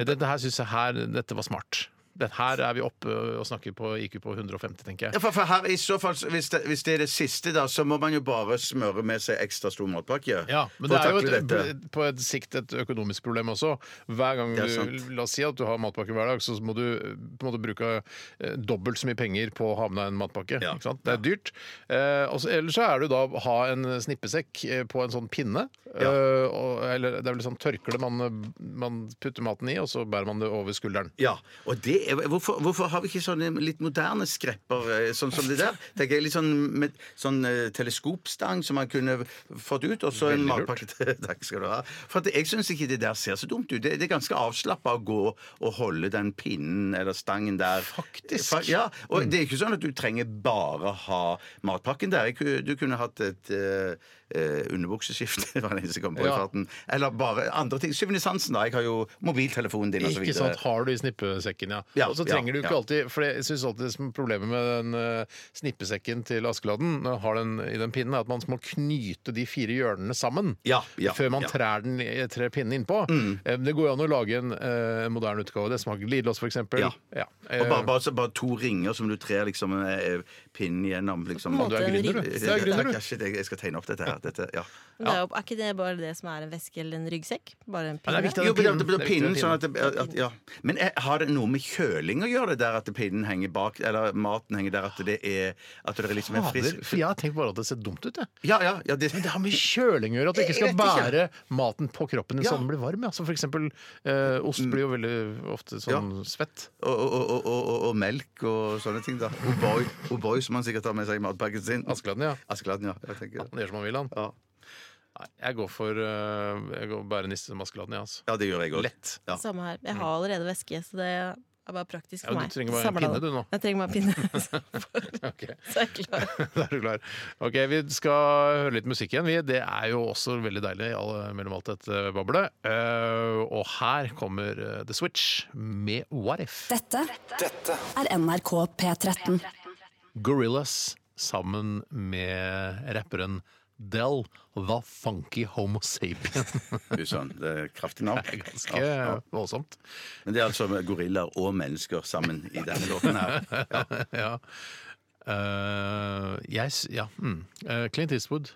Dette her synes jeg her, dette var smart. Dette her er vi oppe og snakker på IQ på 150, tenker Ja, jeg. For, for her i så fall, så hvis det, hvis det er det siste, da, så må man jo bare smøre med seg ekstra stor matpakke. Ja, men for å det er jo takle et, dette. på et sikt et økonomisk problem også. Hver gang Det er du, sant. La oss si at du har matpakke hver dag, så må du eh, på en måte bruke eh, dobbelt så mye penger på å ha med deg en matpakke. Ja. Ikke sant? Det er dyrt. Eh, og så- ellers så er det jo da å ha en snippesekk eh, på en sånn pinne. Ja. Eh, og, eller det er vel sånn tørkle man, eh, man putter maten i, og så bærer man det over skulderen. Ja, og det er, hvorfor, hvorfor har vi ikke sånne litt moderne skrepper eh, sånn som det der? Tenker jeg Litt sånn, med, sånn eh, teleskopstang som man kunne fått ut, og så en Veldig lurt. matpakke til <laughs> Takk skal du ha. For at jeg syns ikke det der ser så dumt ut. Det, det er ganske avslappa å gå og holde den pinnen eller stangen der. Faktisk. Fa- Ja, og det er ikke sånn at du trenger bare ha matpakken der. Jeg ku- Du kunne hatt et eh, eh, underbukseskift. <laughs> var det eneste jeg kom på i Ja. farten. Eller bare andre ting. Syvende sansen, da. Jeg har jo mobiltelefonen din og så Ikke videre. sant, har du i snippesekken, ja. Ja, og så ja, trenger du ikke ja. alltid For jeg syns alltid det som er problemet med den eh, snippesekken til Askeladden, når man har den i den pinnen, er at man må knyte de fire hjørnene sammen Ja, ja, før man ja. Mm. trær, den, i- trær pinnen innpå. Eh, Det går jo an å lage en eh, moderne utgave. Det smaker glidelås, f.eks. Ja. Eh, Og bare, bare, så bare to ringer som du trer liksom eh, pinnen gjennom. Liksom. På en Du er måte en gründer, du. ring. Du er gründer, du. Ja, shit, jeg, jeg skal tegne opp dette her. Dette, ja. Men det er, jo, er ikke det bare det som er en veske eller en ryggsekk? Bare Ja, det en er pinne? viktig at Jo, det er men det, det, pinnen. det, pinnen, Det er viktig sånn at at, det, at ja. Men er, har det noe med kjøling å gjøre, det der at pinnen henger bak, eller maten henger der, at det er, at det er liksom en Fader, frisk for jeg har tenkt bare at det ser dumt ut, jeg. Ja, ja, ja det, Men det har med kjøling å gjøre, at du ikke skal Jeg vet bære maten på kroppen din Ja. Mm. så den blir varm. Ja. Som for eksempel eh, ost blir jo veldig ofte sånn svett. og, og, og, og, og, og melk og sånne ting, da. Oh, O'boy, O'boy som han sikkert har med seg i matpakken sin. Askeladden, ja. Askeladden, ja. Jeg tenker. Han gjør som han vil, han. Ja. Nei, jeg går for eh, jeg går bare nisse som Askeladden, jeg, altså. ja, det gjør jeg òg. Lett. Ja. Samme her. Jeg har allerede veske, så det er bare praktisk Ja, for du meg. trenger bare en Samler pinne, det. du, nå. Jeg trenger bare <laughs> en pinne. Ok. så er jeg klar. <laughs> Da er du klar. Ok, Vi skal høre litt musikk igjen. Vi, det er jo også veldig deilig alle, mellom alt dette bablet. Eh, og her kommer eh, The Switch med What If. Dette er NRK P13. Gorillas sammen med rapperen Del The Funky Homo Sapien. <laughs> Du, sånn, det er kraftig navn. Det er ganske Ja, ja. voldsomt. <laughs> Men det er altså med gorillaer og mennesker sammen i denne låten <laughs> her. ja. Eh, jeg s- ja. Mm. Eh, Clint Eastwood.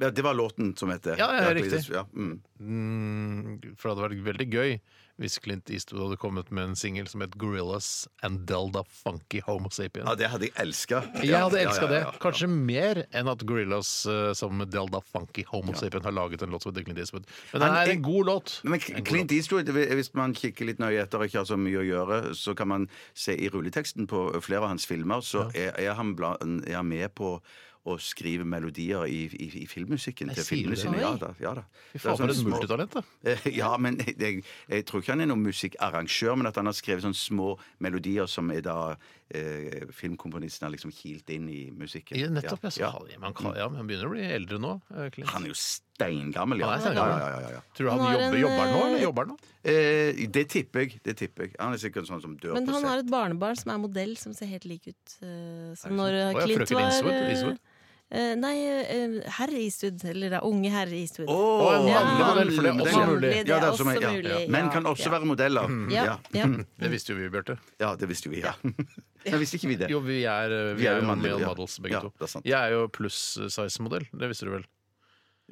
Ja, det var låten som het det. Ja, ja, riktig. Ja, mm. Mm, for det hadde vært veldig gøy hvis Clint Eastwood hadde kommet med en singel som het 'Gorillas and Delda Funky Homo Sapien'. ja, det hadde jeg elska. Jeg hadde elska det. Kanskje mer enn at Gorillas eh, sammen med Delda Funky Homo Sapien har laget en låt som heter Clint Eastwood. Men det Han er er- en god låt. Men En god Clint Eastwood, hvis man kikker litt nøye etter og ikke har så mye å gjøre, så kan man se i rulleteksten på flere av hans filmer, så er, er, han, blant, er han med på å skrive melodier i, i, i filmmusikken Jeg til sier filmene det. sine. Ja Oi. da. Ja, da. Fy Det er faen, for sånne et små- multitalent, da. Eh, Ja, men jeg, jeg tror ikke han er noen musikkarrangør, men at han har skrevet sånne små melodier som er da eh, filmkomponisten har liksom kilt inn i musikken. Ja, nettopp. Ja, Ja. Mm. så ja. han- Man kan, ja, men han begynner å bli eldre nå. eh, Clint. Han er jo steingammel, ja. Han er steingammel. Ja, ja, ja, ja, ja. Tror du han, Han har jobber, en, jobber han nå, eller eh, jobber han nå? Eh, det tipper jeg. det tipper jeg. Han er sikkert sånn som dør Men på han har sett. et barnebarn som er modell, som ser helt lik ut eh, som når eh, Å, ja, Clint frøken var Eastwood, eh, Eastwood. eh, nei, eh, herr Eastwood. Eller da, unge herr Eastwood. Åh, en ja, mannlig modell, for det er mannlig modell. også mulig. Mhm. Ja, det er også som er- ja. mulig, ja. Menn kan også Ja. være modeller. Ja. Ja. ja. <laughs> Mm. Det visste jo vi, Bjarte. ja, det visste jo vi, ja. <laughs> Men visste ikke vi det? Jo, vi er, eh, vi Vi er er jo jo mannlige, male ja. models, begge Ja, to. det er sant. Jeg er jo pluss-size-modell. Det visste du vel?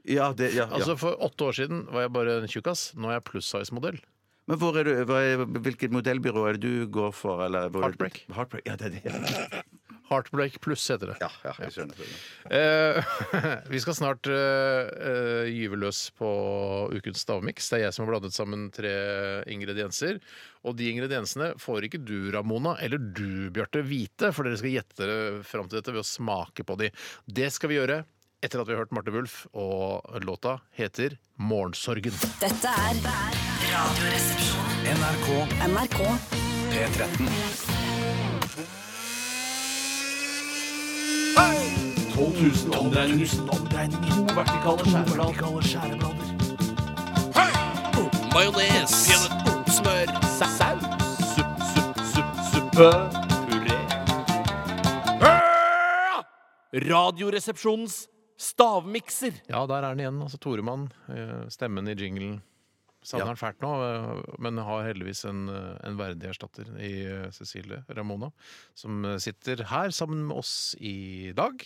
Ja, det, ja, ja. Altså, For åtte år siden var jeg bare en tjukkas. Nå er jeg pluss-size-modell. Men hvor er du, hva er, hvilket modellbyrå er det du går for? Eller, hvor er det- Heartbreak. Heartbreak. Ja, det er det. Ja, Heartbreak pluss heter det. ja jeg skjønner. Eh, <laughs> vi skal snart eh, eh, gyve løs på ukens stavmiks. Det er jeg som har blandet sammen tre ingredienser. Og de ingrediensene får ikke du, Ramona, eller du, Bjarte, vite, for dere skal gjette dere fram til dette ved å smake på de. Det skal vi gjøre etter at vi har hørt Marte Wulf, og låta heter 'Morgensorgen'. Dette er Radioresepsjonen. NRK. NRK. Majones. Smør. Saus. Supp, supp, supp, suppe. Puré. Radioresepsjonens stavmikser. Ja, der er den igjen. altså Toremann. eh, Stemmen i jinglen. Savner Ja. han fælt nå, eh, men har heldigvis en, eh, en verdig erstatter i eh, Cecilie Ramona, som eh, sitter her sammen med oss i dag.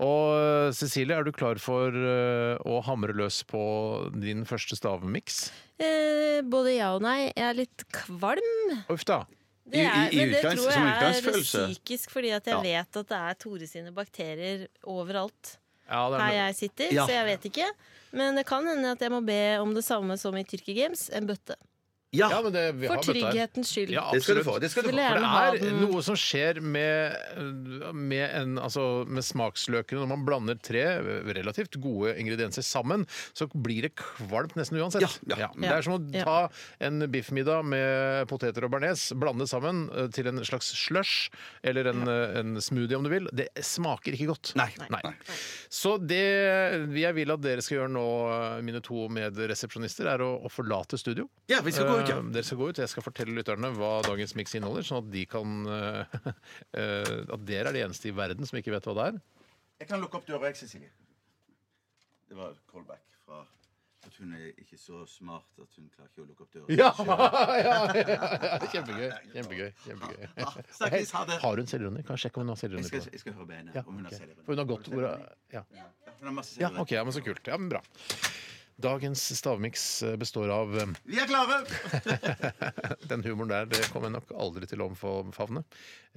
Og eh, Cecilie, er du klar for eh, å hamre løs på din første stavmiks? Eh, både ja og nei. Jeg er litt kvalm. Uff da! Det I- i- er, i men det utgangs- tror som jeg er utgangsfølelse. psykisk, fordi at jeg vet at det er Tore sine bakterier overalt Ja, det er her noe- jeg sitter, Ja. så jeg vet ikke. Men det kan hende at jeg må be om det samme som i Tyrkia Games, en bøtte. Ja. men det, vi har For bøtta her. trygghetens skyld. Ja, Det skal du få, absolutt. det skal du Vil få. gjerne ha For det er den. noe som skjer med, med, en, altså, med smaksløkene når man blander tre relativt gode ingredienser sammen, så blir det kvalmt nesten uansett. Ja, ja. Det er som å Ja. ta en biffmiddag med poteter og bearnés, blande sammen eh, til en slags slush eller en, eh, en smoothie om du vil. Det smaker ikke godt. Nei. Nei. Så det jeg vil at dere skal gjøre nå, eh, mine to medresepsjonister, er å, å forlate studio. Ja, vi skal gå ut, ja. Eh, Dere skal gå ut. Jeg skal fortelle lytterne hva dagens miks inneholder, sånn at de kan eh, <laughs> eh, At dere er de eneste i verden som ikke vet hva det <laughs> er. Jeg kan lukke opp døra, jeg, Cecilie. Det var callback fra at hun er ikke så smart at hun klarer ikke å lukke opp døra. <laughs> Kjempegøy. Kjempegøy. kjempegøy. Ah, Snakkes, ha det. <laughs> Har hun selvrunde? Kan jeg sjekke om hun har Jeg selvrunde skal, på det. jeg skal høre med henne Ja, om hun har ok. selvrunde. For hun har gått Har hun ordet ja. selvrunde? Hun har masse ja, selvrunde. OK. Ja, men så kult. Ja, men bra. Dagens stavmiks eh, består av eh, Vi er klare! Den humoren der det kommer jeg nok aldri til å omfavne.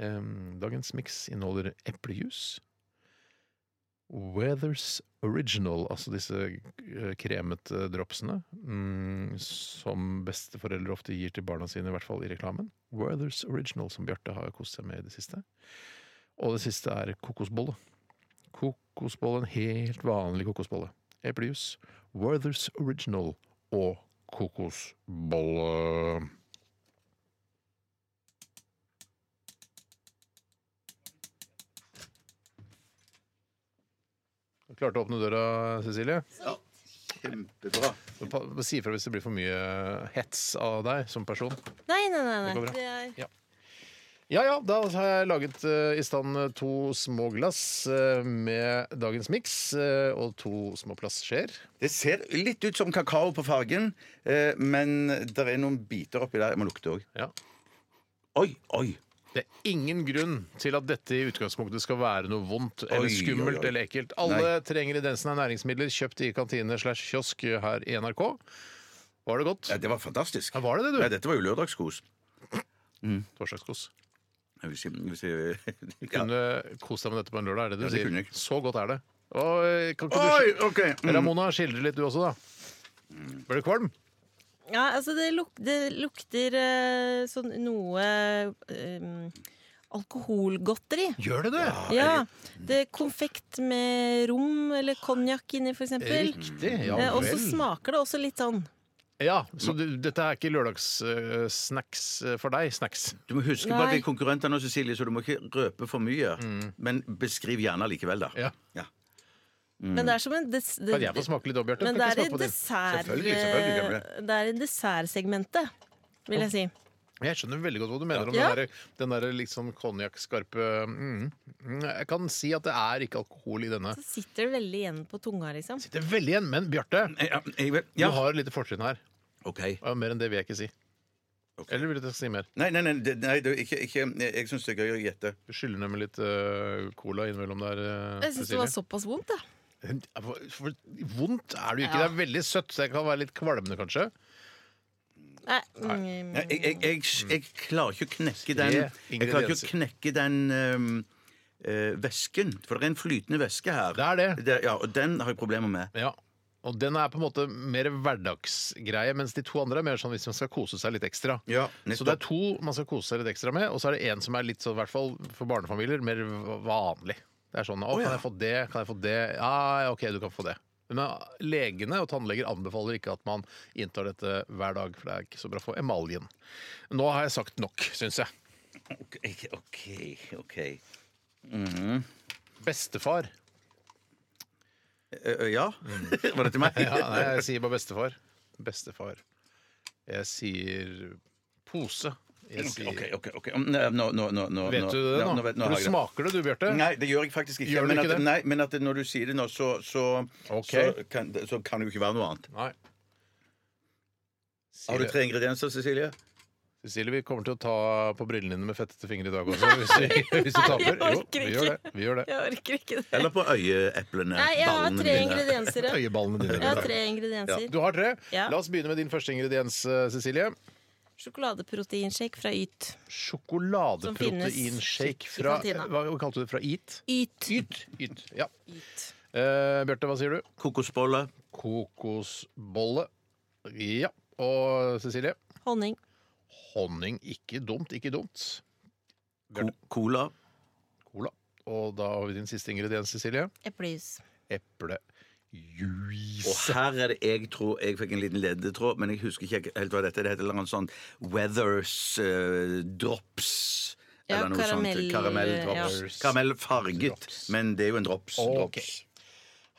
Ehm, Dagens miks inneholder eplejus. Weathers Original, altså disse eh, kremete dropsene mm, som besteforeldre ofte gir til barna sine, i hvert fall i reklamen. Weathers Original, som Bjarte har kost seg med i det siste. Og det siste er kokosbolle. Kokosbolle, En helt vanlig kokosbolle. Eplejus, Weathers Original og kokosbolle. Du klarte å åpne døra, Cecilie. Kjempebra. Så pa- Si ifra hvis det blir for mye hets av deg som person. Nei, nei, nei. nei. Det går bra. Det er Ja ja, da har jeg laget eh, i stand to små glass eh, med dagens miks eh, og to små plastskjeer. Det ser litt ut som kakao på fargen, eh, men det er noen biter oppi der. Jeg må lukte òg. Ja. Oi, oi! Det er ingen grunn til at dette i utgangspunktet skal være noe vondt eller Oi, oi, skummelt oi. eller ekkelt. Alle trenger ingrediensene av næringsmidler kjøpt i kantine slash kiosk her i NRK. Var det godt? Ja, det var fantastisk. Ja, var det det, du? Nei, dette var jo lørdagskos. Torsdagskos. Jeg vil si, jeg <laughs> vil si, ja. Kunne kost deg med dette på en lørdag, er det du Ja, det kunne sier? jeg. Så godt er det. Oi, kan ikke du Oi, skil- OK! Mm. Ramona, skildre litt du også, da. Ble du kvalm? Ja, altså det, luk det lukter eh, sånn noe eh, alkoholgodteri. Gjør det det? Ja. Det er konfekt med rom eller konjakk inni, for eksempel. Riktig. Ja Eh, Og så vel. smaker det også litt sånn. Ja, så du, dette er ikke lørdagssnacks eh, for deg? Snacks. Du må huske på at vi Nei. er konkurrenter nå, Cecilie, så du må ikke røpe for mye. Men beskriv gjerne likevel, da. Mm. Ja. Men det er som en des Kan jeg få smake litt òg, Bjarte? Men Kan det ikke er i smake på din. dessert... eh, Selvfølgelig, selvfølgelig kan vi det er i dessertsegmentet, vil jeg si. Jeg skjønner veldig godt hva du mener om Ja. den der, den der liksom konjakkskarpe mm, mm, Jeg kan si at det er ikke alkohol i denne. Så sitter det veldig igjen på tunga, liksom. Sitter veldig igjen, men Bjarte, Eh, Ja, jeg vil, du ja. har et lite fortrinn her. OK. Og mer enn det vil jeg ikke si. Eller vil du at jeg skal si mer? Nei, nei, nei, det- nei det, er ikke, ikke Jeg syns det er gøy å gjette. Du skyller nemlig litt øh, cola innimellom der. øh, Jeg syns det var såpass vondt, jeg. For, for, vondt er det jo ikke. Ja. Det er veldig søtt. så Det kan være litt kvalmende, kanskje. Nei. mm, Jeg, jeg, jeg, jeg klarer ikke å knekke den Tre Jeg klarer ikke ingredienser. å knekke den ehm, eh, væsken. For det er en flytende væske her. Det er det. ja, Og den har jeg problemer med. Ja. Og den er på en måte mer hverdagsgreie, mens de to andre er mer sånn hvis man skal kose seg litt ekstra. Ja, så det er to man skal kose seg litt ekstra med, og så er det en som er litt sånn, i hvert fall for barnefamilier, mer v- vanlig. Det er sånn Å, kan jeg få det? Kan jeg få det? Ja, ja, OK, du kan få det. Men legene og tannleger anbefaler ikke at man inntar dette hver dag, for det er ikke så bra for emaljen. Nå har jeg sagt nok, syns jeg. OK, OK. ok. Bestefar. Eh, eh, ja? <laughs> Var det til meg? Mm. <laughs> Ja, nei, jeg sier bare bestefar. Bestefar. Jeg sier pose. Jeg sier OK, OK. ok Mm, nei, Nå, nå, nå, nå Vet nå- du det ja, nå? nå, vet, nå For har du jeg det. smaker det du, Bjarte. Nei, det gjør jeg faktisk ikke. Gjør du men, ikke at, det? Nei, men at når du sier det nå, så, så, Ok. så, kan, det- så kan det jo ikke være noe annet. Nei. Har du tre ingredienser, Cecilie? Cecilie, vi kommer til å ta på brillene dine med fettete fingre i dag også. Hvis vi, <laughs> <laughs> hvis du Nei, jeg taper. Jo, orker vi gjør ikke. det. Vi gjør det. Jeg orker ikke det. Eller på øyeeplene? Nei, jeg har ballene tre dine? <laughs> ingredienser. ja. Øyeballene dine. Jeg har tre ingredienser. Du har tre? Ja. La oss begynne med din første ingrediens, eh, Cecilie. Sjokoladeproteinshake fra Yt. Sjokoladeproteinshake Som finnes i fra kantina. Hva kalte du det? Fra Eat? Yt. Yt. Yt. Ja. Yt. Eh, Bjarte, hva sier du? Kokosbolle. Kokosbolle. Ja. Og Cecilie? Honning. Honning. Ikke dumt, ikke dumt. Co cola. Cola. Og da har vi din siste ingrediens, Cecilie. Eplejus. Eple. Og her er det jeg tror jeg fikk en liten ledetråd, men jeg husker ikke helt hva dette er. Det heter eller noe sånn Weathers eh, Drops. Ja, eller noe karamell- eh, sånt. Karamelldrops. ja. Karamellfarget, men det er jo en drops. Ok. drops.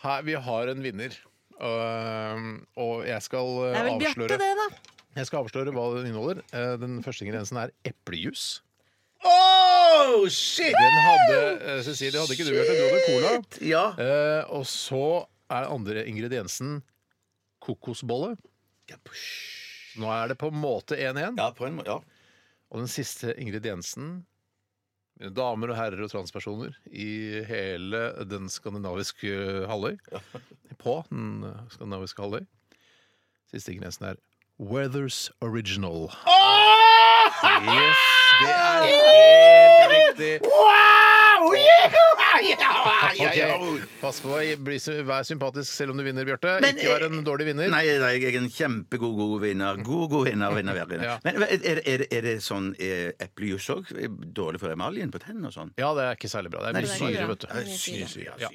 Her, vi har en vinner. Øhm, og jeg skal øh, Det er vel avsløre Bjarte, det, da. Jeg skal avsløre hva den inneholder. Eh, Den første ingrediensen er eplejus. Oh, shit! Den hadde eh, Cecilie, hadde ikke du gjort det? Du hadde cola. Ja. Eh, og så er den andre ingrediensen kokosbolle. Nå er det på en måte 1-1. Ja, på en måte. Ja. Og den siste ingrediensen mine Damer og herrer og transpersoner i hele den skandinaviske eh, halvøy. På den eh, skandinaviske halvøy. Siste ingrediensen er Weathers Original. Yes, det Ah! er helt riktig. Ok, Pass på å bli, vær sympatisk selv om du vinner, Bjarte. Men, eh, Ikke vær en dårlig vinner. Nei, nei, jeg er en kjempegod god vinner. God god vinner, vinner, hver vinner. Ja. Men hva- er, det- er, det- er det sånn eh, eplejus òg? Dårlig for emaljen på tennene og sånn? Ja, det er ikke særlig bra. Det er Nei, mye det er ikke syre, bra. vet Det er du. mye syre. Ja.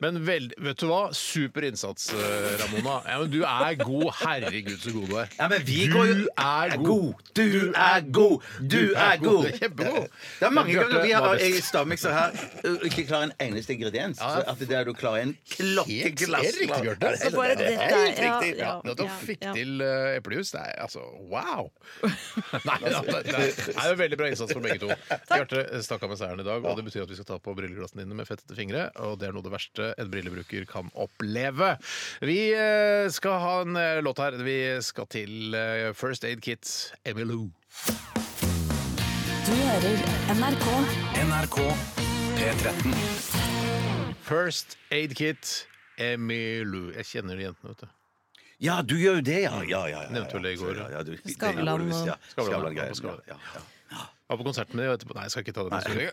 Men vel, vet du hva? Super innsats, eh, Ramona. Ja, men du er god. Herregud, så god du er. Ja, men vi Du går jo er god. Du er god! Du er god! Du er kjempegod. Det er mange Men Bjarte ganger vi var har best. jeg stavmikser her og ikke klarer en eneste ingrediens. Ja. Så at det er du klarer en Helt klokkeklass. helt riktig, Bjarte. Så bare dette er- ja, ja, Ja, at du ja, fikk ja. til eh, eplejus, det er altså <laughs> wow! Nei, det er, det er, det er en veldig bra innsats for begge to. Bjarte stakk av med seieren i dag, og det betyr at vi skal ta på brilleglassene dine med fettete fingre. Og det er noe av det verste en brillebruker kan oppleve. Vi eh, skal ha en eh, låt her. Vi skal til eh, First Aid Kit, Emilou. Du hører NRK. NRK P13. First Aid Kit, Emilou. Jeg kjenner de jentene, vet du. Ja, du gjør jo Mm. det, ja. ja, ja, ja, ja. Nevnte vel det i går, Ja, ja, du- Skavlan det gjorde du visst, ja. og- Skavlan, Skavlan-greier, ja, på Skavlan. ja, ja. Var på konsert med dem og etterpå Nei, jeg skal ikke ta den historien.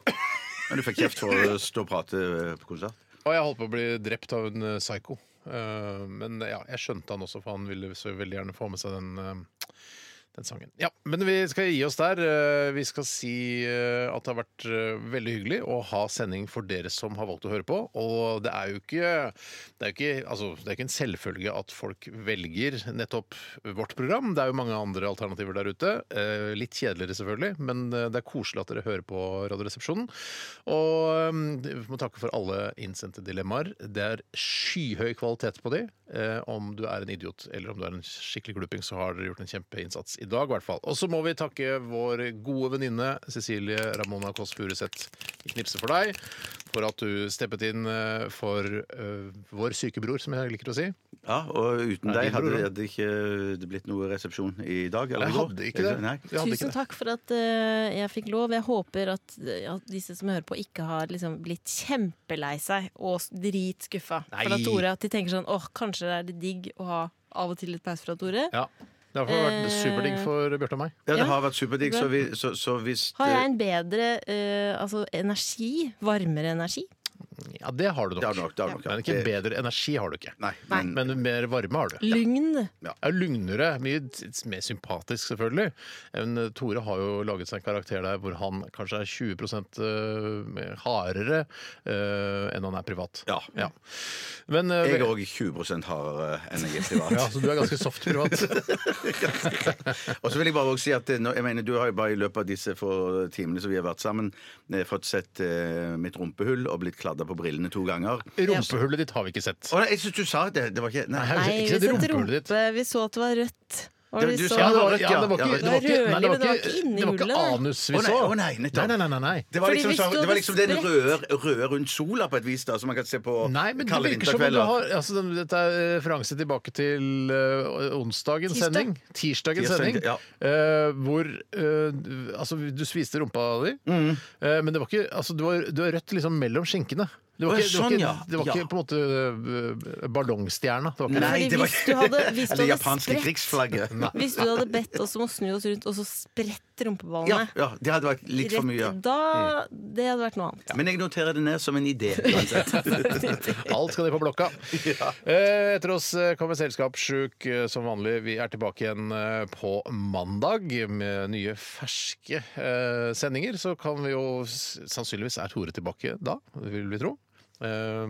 Men du fikk kjeft for å stå og prate eh, på konsert? Og jeg holdt på å bli drept av en eh, psyko. Eh, men ja, jeg skjønte han også, for han ville så veldig gjerne få med seg den, eh, den sangen. Ja, Men vi skal gi oss der. Eh, vi skal si eh, at det har vært eh, veldig hyggelig å ha sending for dere som har valgt å høre på. Og det er jo ikke, det er jo ikke, altså, det er ikke en selvfølge at folk velger nettopp vårt program. Det er jo mange andre alternativer der ute. Eh, litt kjedeligere, selvfølgelig, men eh, det er koselig at dere hører på Radioresepsjonen. Og um, vi må takke for alle innsendte dilemmaer. Det er skyhøy kvalitet på de. Eh, om du er en idiot eller om du er en skikkelig gluping, så har dere gjort en kjempeinnsats i dag, i hvert fall. Og så må vi takke vår gode venninne Cecilie Ramona Kåss Furuseth i Knipse for deg, for at du steppet inn eh, for eh, vår syke bror, som jeg liker å si. Ja, og uten deg din bror, hadde da. det hadde ikke det blitt noe resepsjon i dag. Eller Jeg i går. hadde ikke det. Nei. Jeg hadde ikke Tusen det. takk for at eh, jeg fikk lov. Jeg håper at, at disse som hører på, ikke har liksom blitt kjempelei seg og s- dritskuffa. Nei. For at Tore, at de tenker sånn åh, kanskje det er det digg å ha av og til litt pause fra Tore. Ja. Det har vært Eh, superdigg for Bjarte og meg. Ja, det Ja. har vært superdigg, så, vi, så, så hvis Har det- jeg en bedre eh, altså energi? Varmere energi? Ja, det har du nok. Det har du nok, det har du nok, ja. Men ikke Det- bedre energi har du ikke. Nei, men, Men mer varme har du. Lugn? er lugnere, mye t- mer sympatisk selvfølgelig. Men eh, Tore har jo laget seg en karakter der hvor han kanskje er 20 eh, mer hardere eh, enn han er privat. Ja. Men, eh, jeg er vel- òg 20 hardere enn jeg er <laughs> privat. <laughs> ja, så du er ganske soft privat. Og så vil jeg bare også si at eh, nå, jeg mener, Du har jo bare i løpet av disse få timene som vi har vært sammen, eh, fått sett eh, mitt rumpehull og blitt kladda på brillene to ganger. Rumpehullet ditt har vi ikke sett. Å, nei, jeg syns du sa det. Det var ikke Nei. Nei, Nei, ikke vi det sendte rumpehullet ditt. rumpe. Vi så at det var rødt. Var Du- det du så, sa det var rødt, ja, det ja, var ikke, det var ikke, nei, det var ikke, inni det var ikke hullet, nei. anus vi Å, nei, så. å, nei, nettopp. nei, nei, nei, nei. Det var Fordi liksom, hvis sånn, du det var liksom den hadde røde, røde rundt sola på et vis, da, som man kan se på Nei, men det kalde virker som om du vinterkvelder. har altså, den- Dette er referanse tilbake til eh, onsdagens Tirsdag. sending. Tirsdagens Tirsdag, sending. ja. eh, hvor eh, Altså, du sviste rumpa di, Mm. eh, men det var ikke altså, du, var, du var rødt liksom mellom skinkene. Det Å, var ikke, det var sånn, ikke, ja. det var ikke Ja. på en måte eh, ballongstjerna. Det var ikke Nei, Fordi det var <laughs> hvis du hadde- hvis du Eller hadde japanske spredt- krigsflagget. Hvis du hadde bedt oss om å snu oss rundt og så sprette rett i rumpeballene. Ja, ja, det hadde vært litt for mye, ja. Mm. Rett, da, det hadde vært noe annet. Men jeg noterer det ned som en <laughs> idé. <laughs> Alt skal ned på blokka. Eh, Etter oss eh, kommer Selskapssjuk eh, som vanlig. Vi er tilbake igjen eh, på mandag med nye ferske eh, sendinger. Så kan vi jo s- Sannsynligvis er Tore tilbake da, vil vi tro. Eh,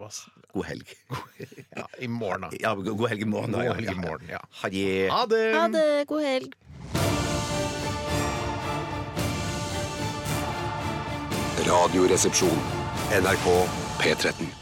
hva s- God helg. <laughs> ja, I morgen, da. Ja, god helg i morgen. da, God ja, helg i ja. morgen. Ja. Ha det. Ha det! Ha det. God helg. Radioresepsjon. NRK P13.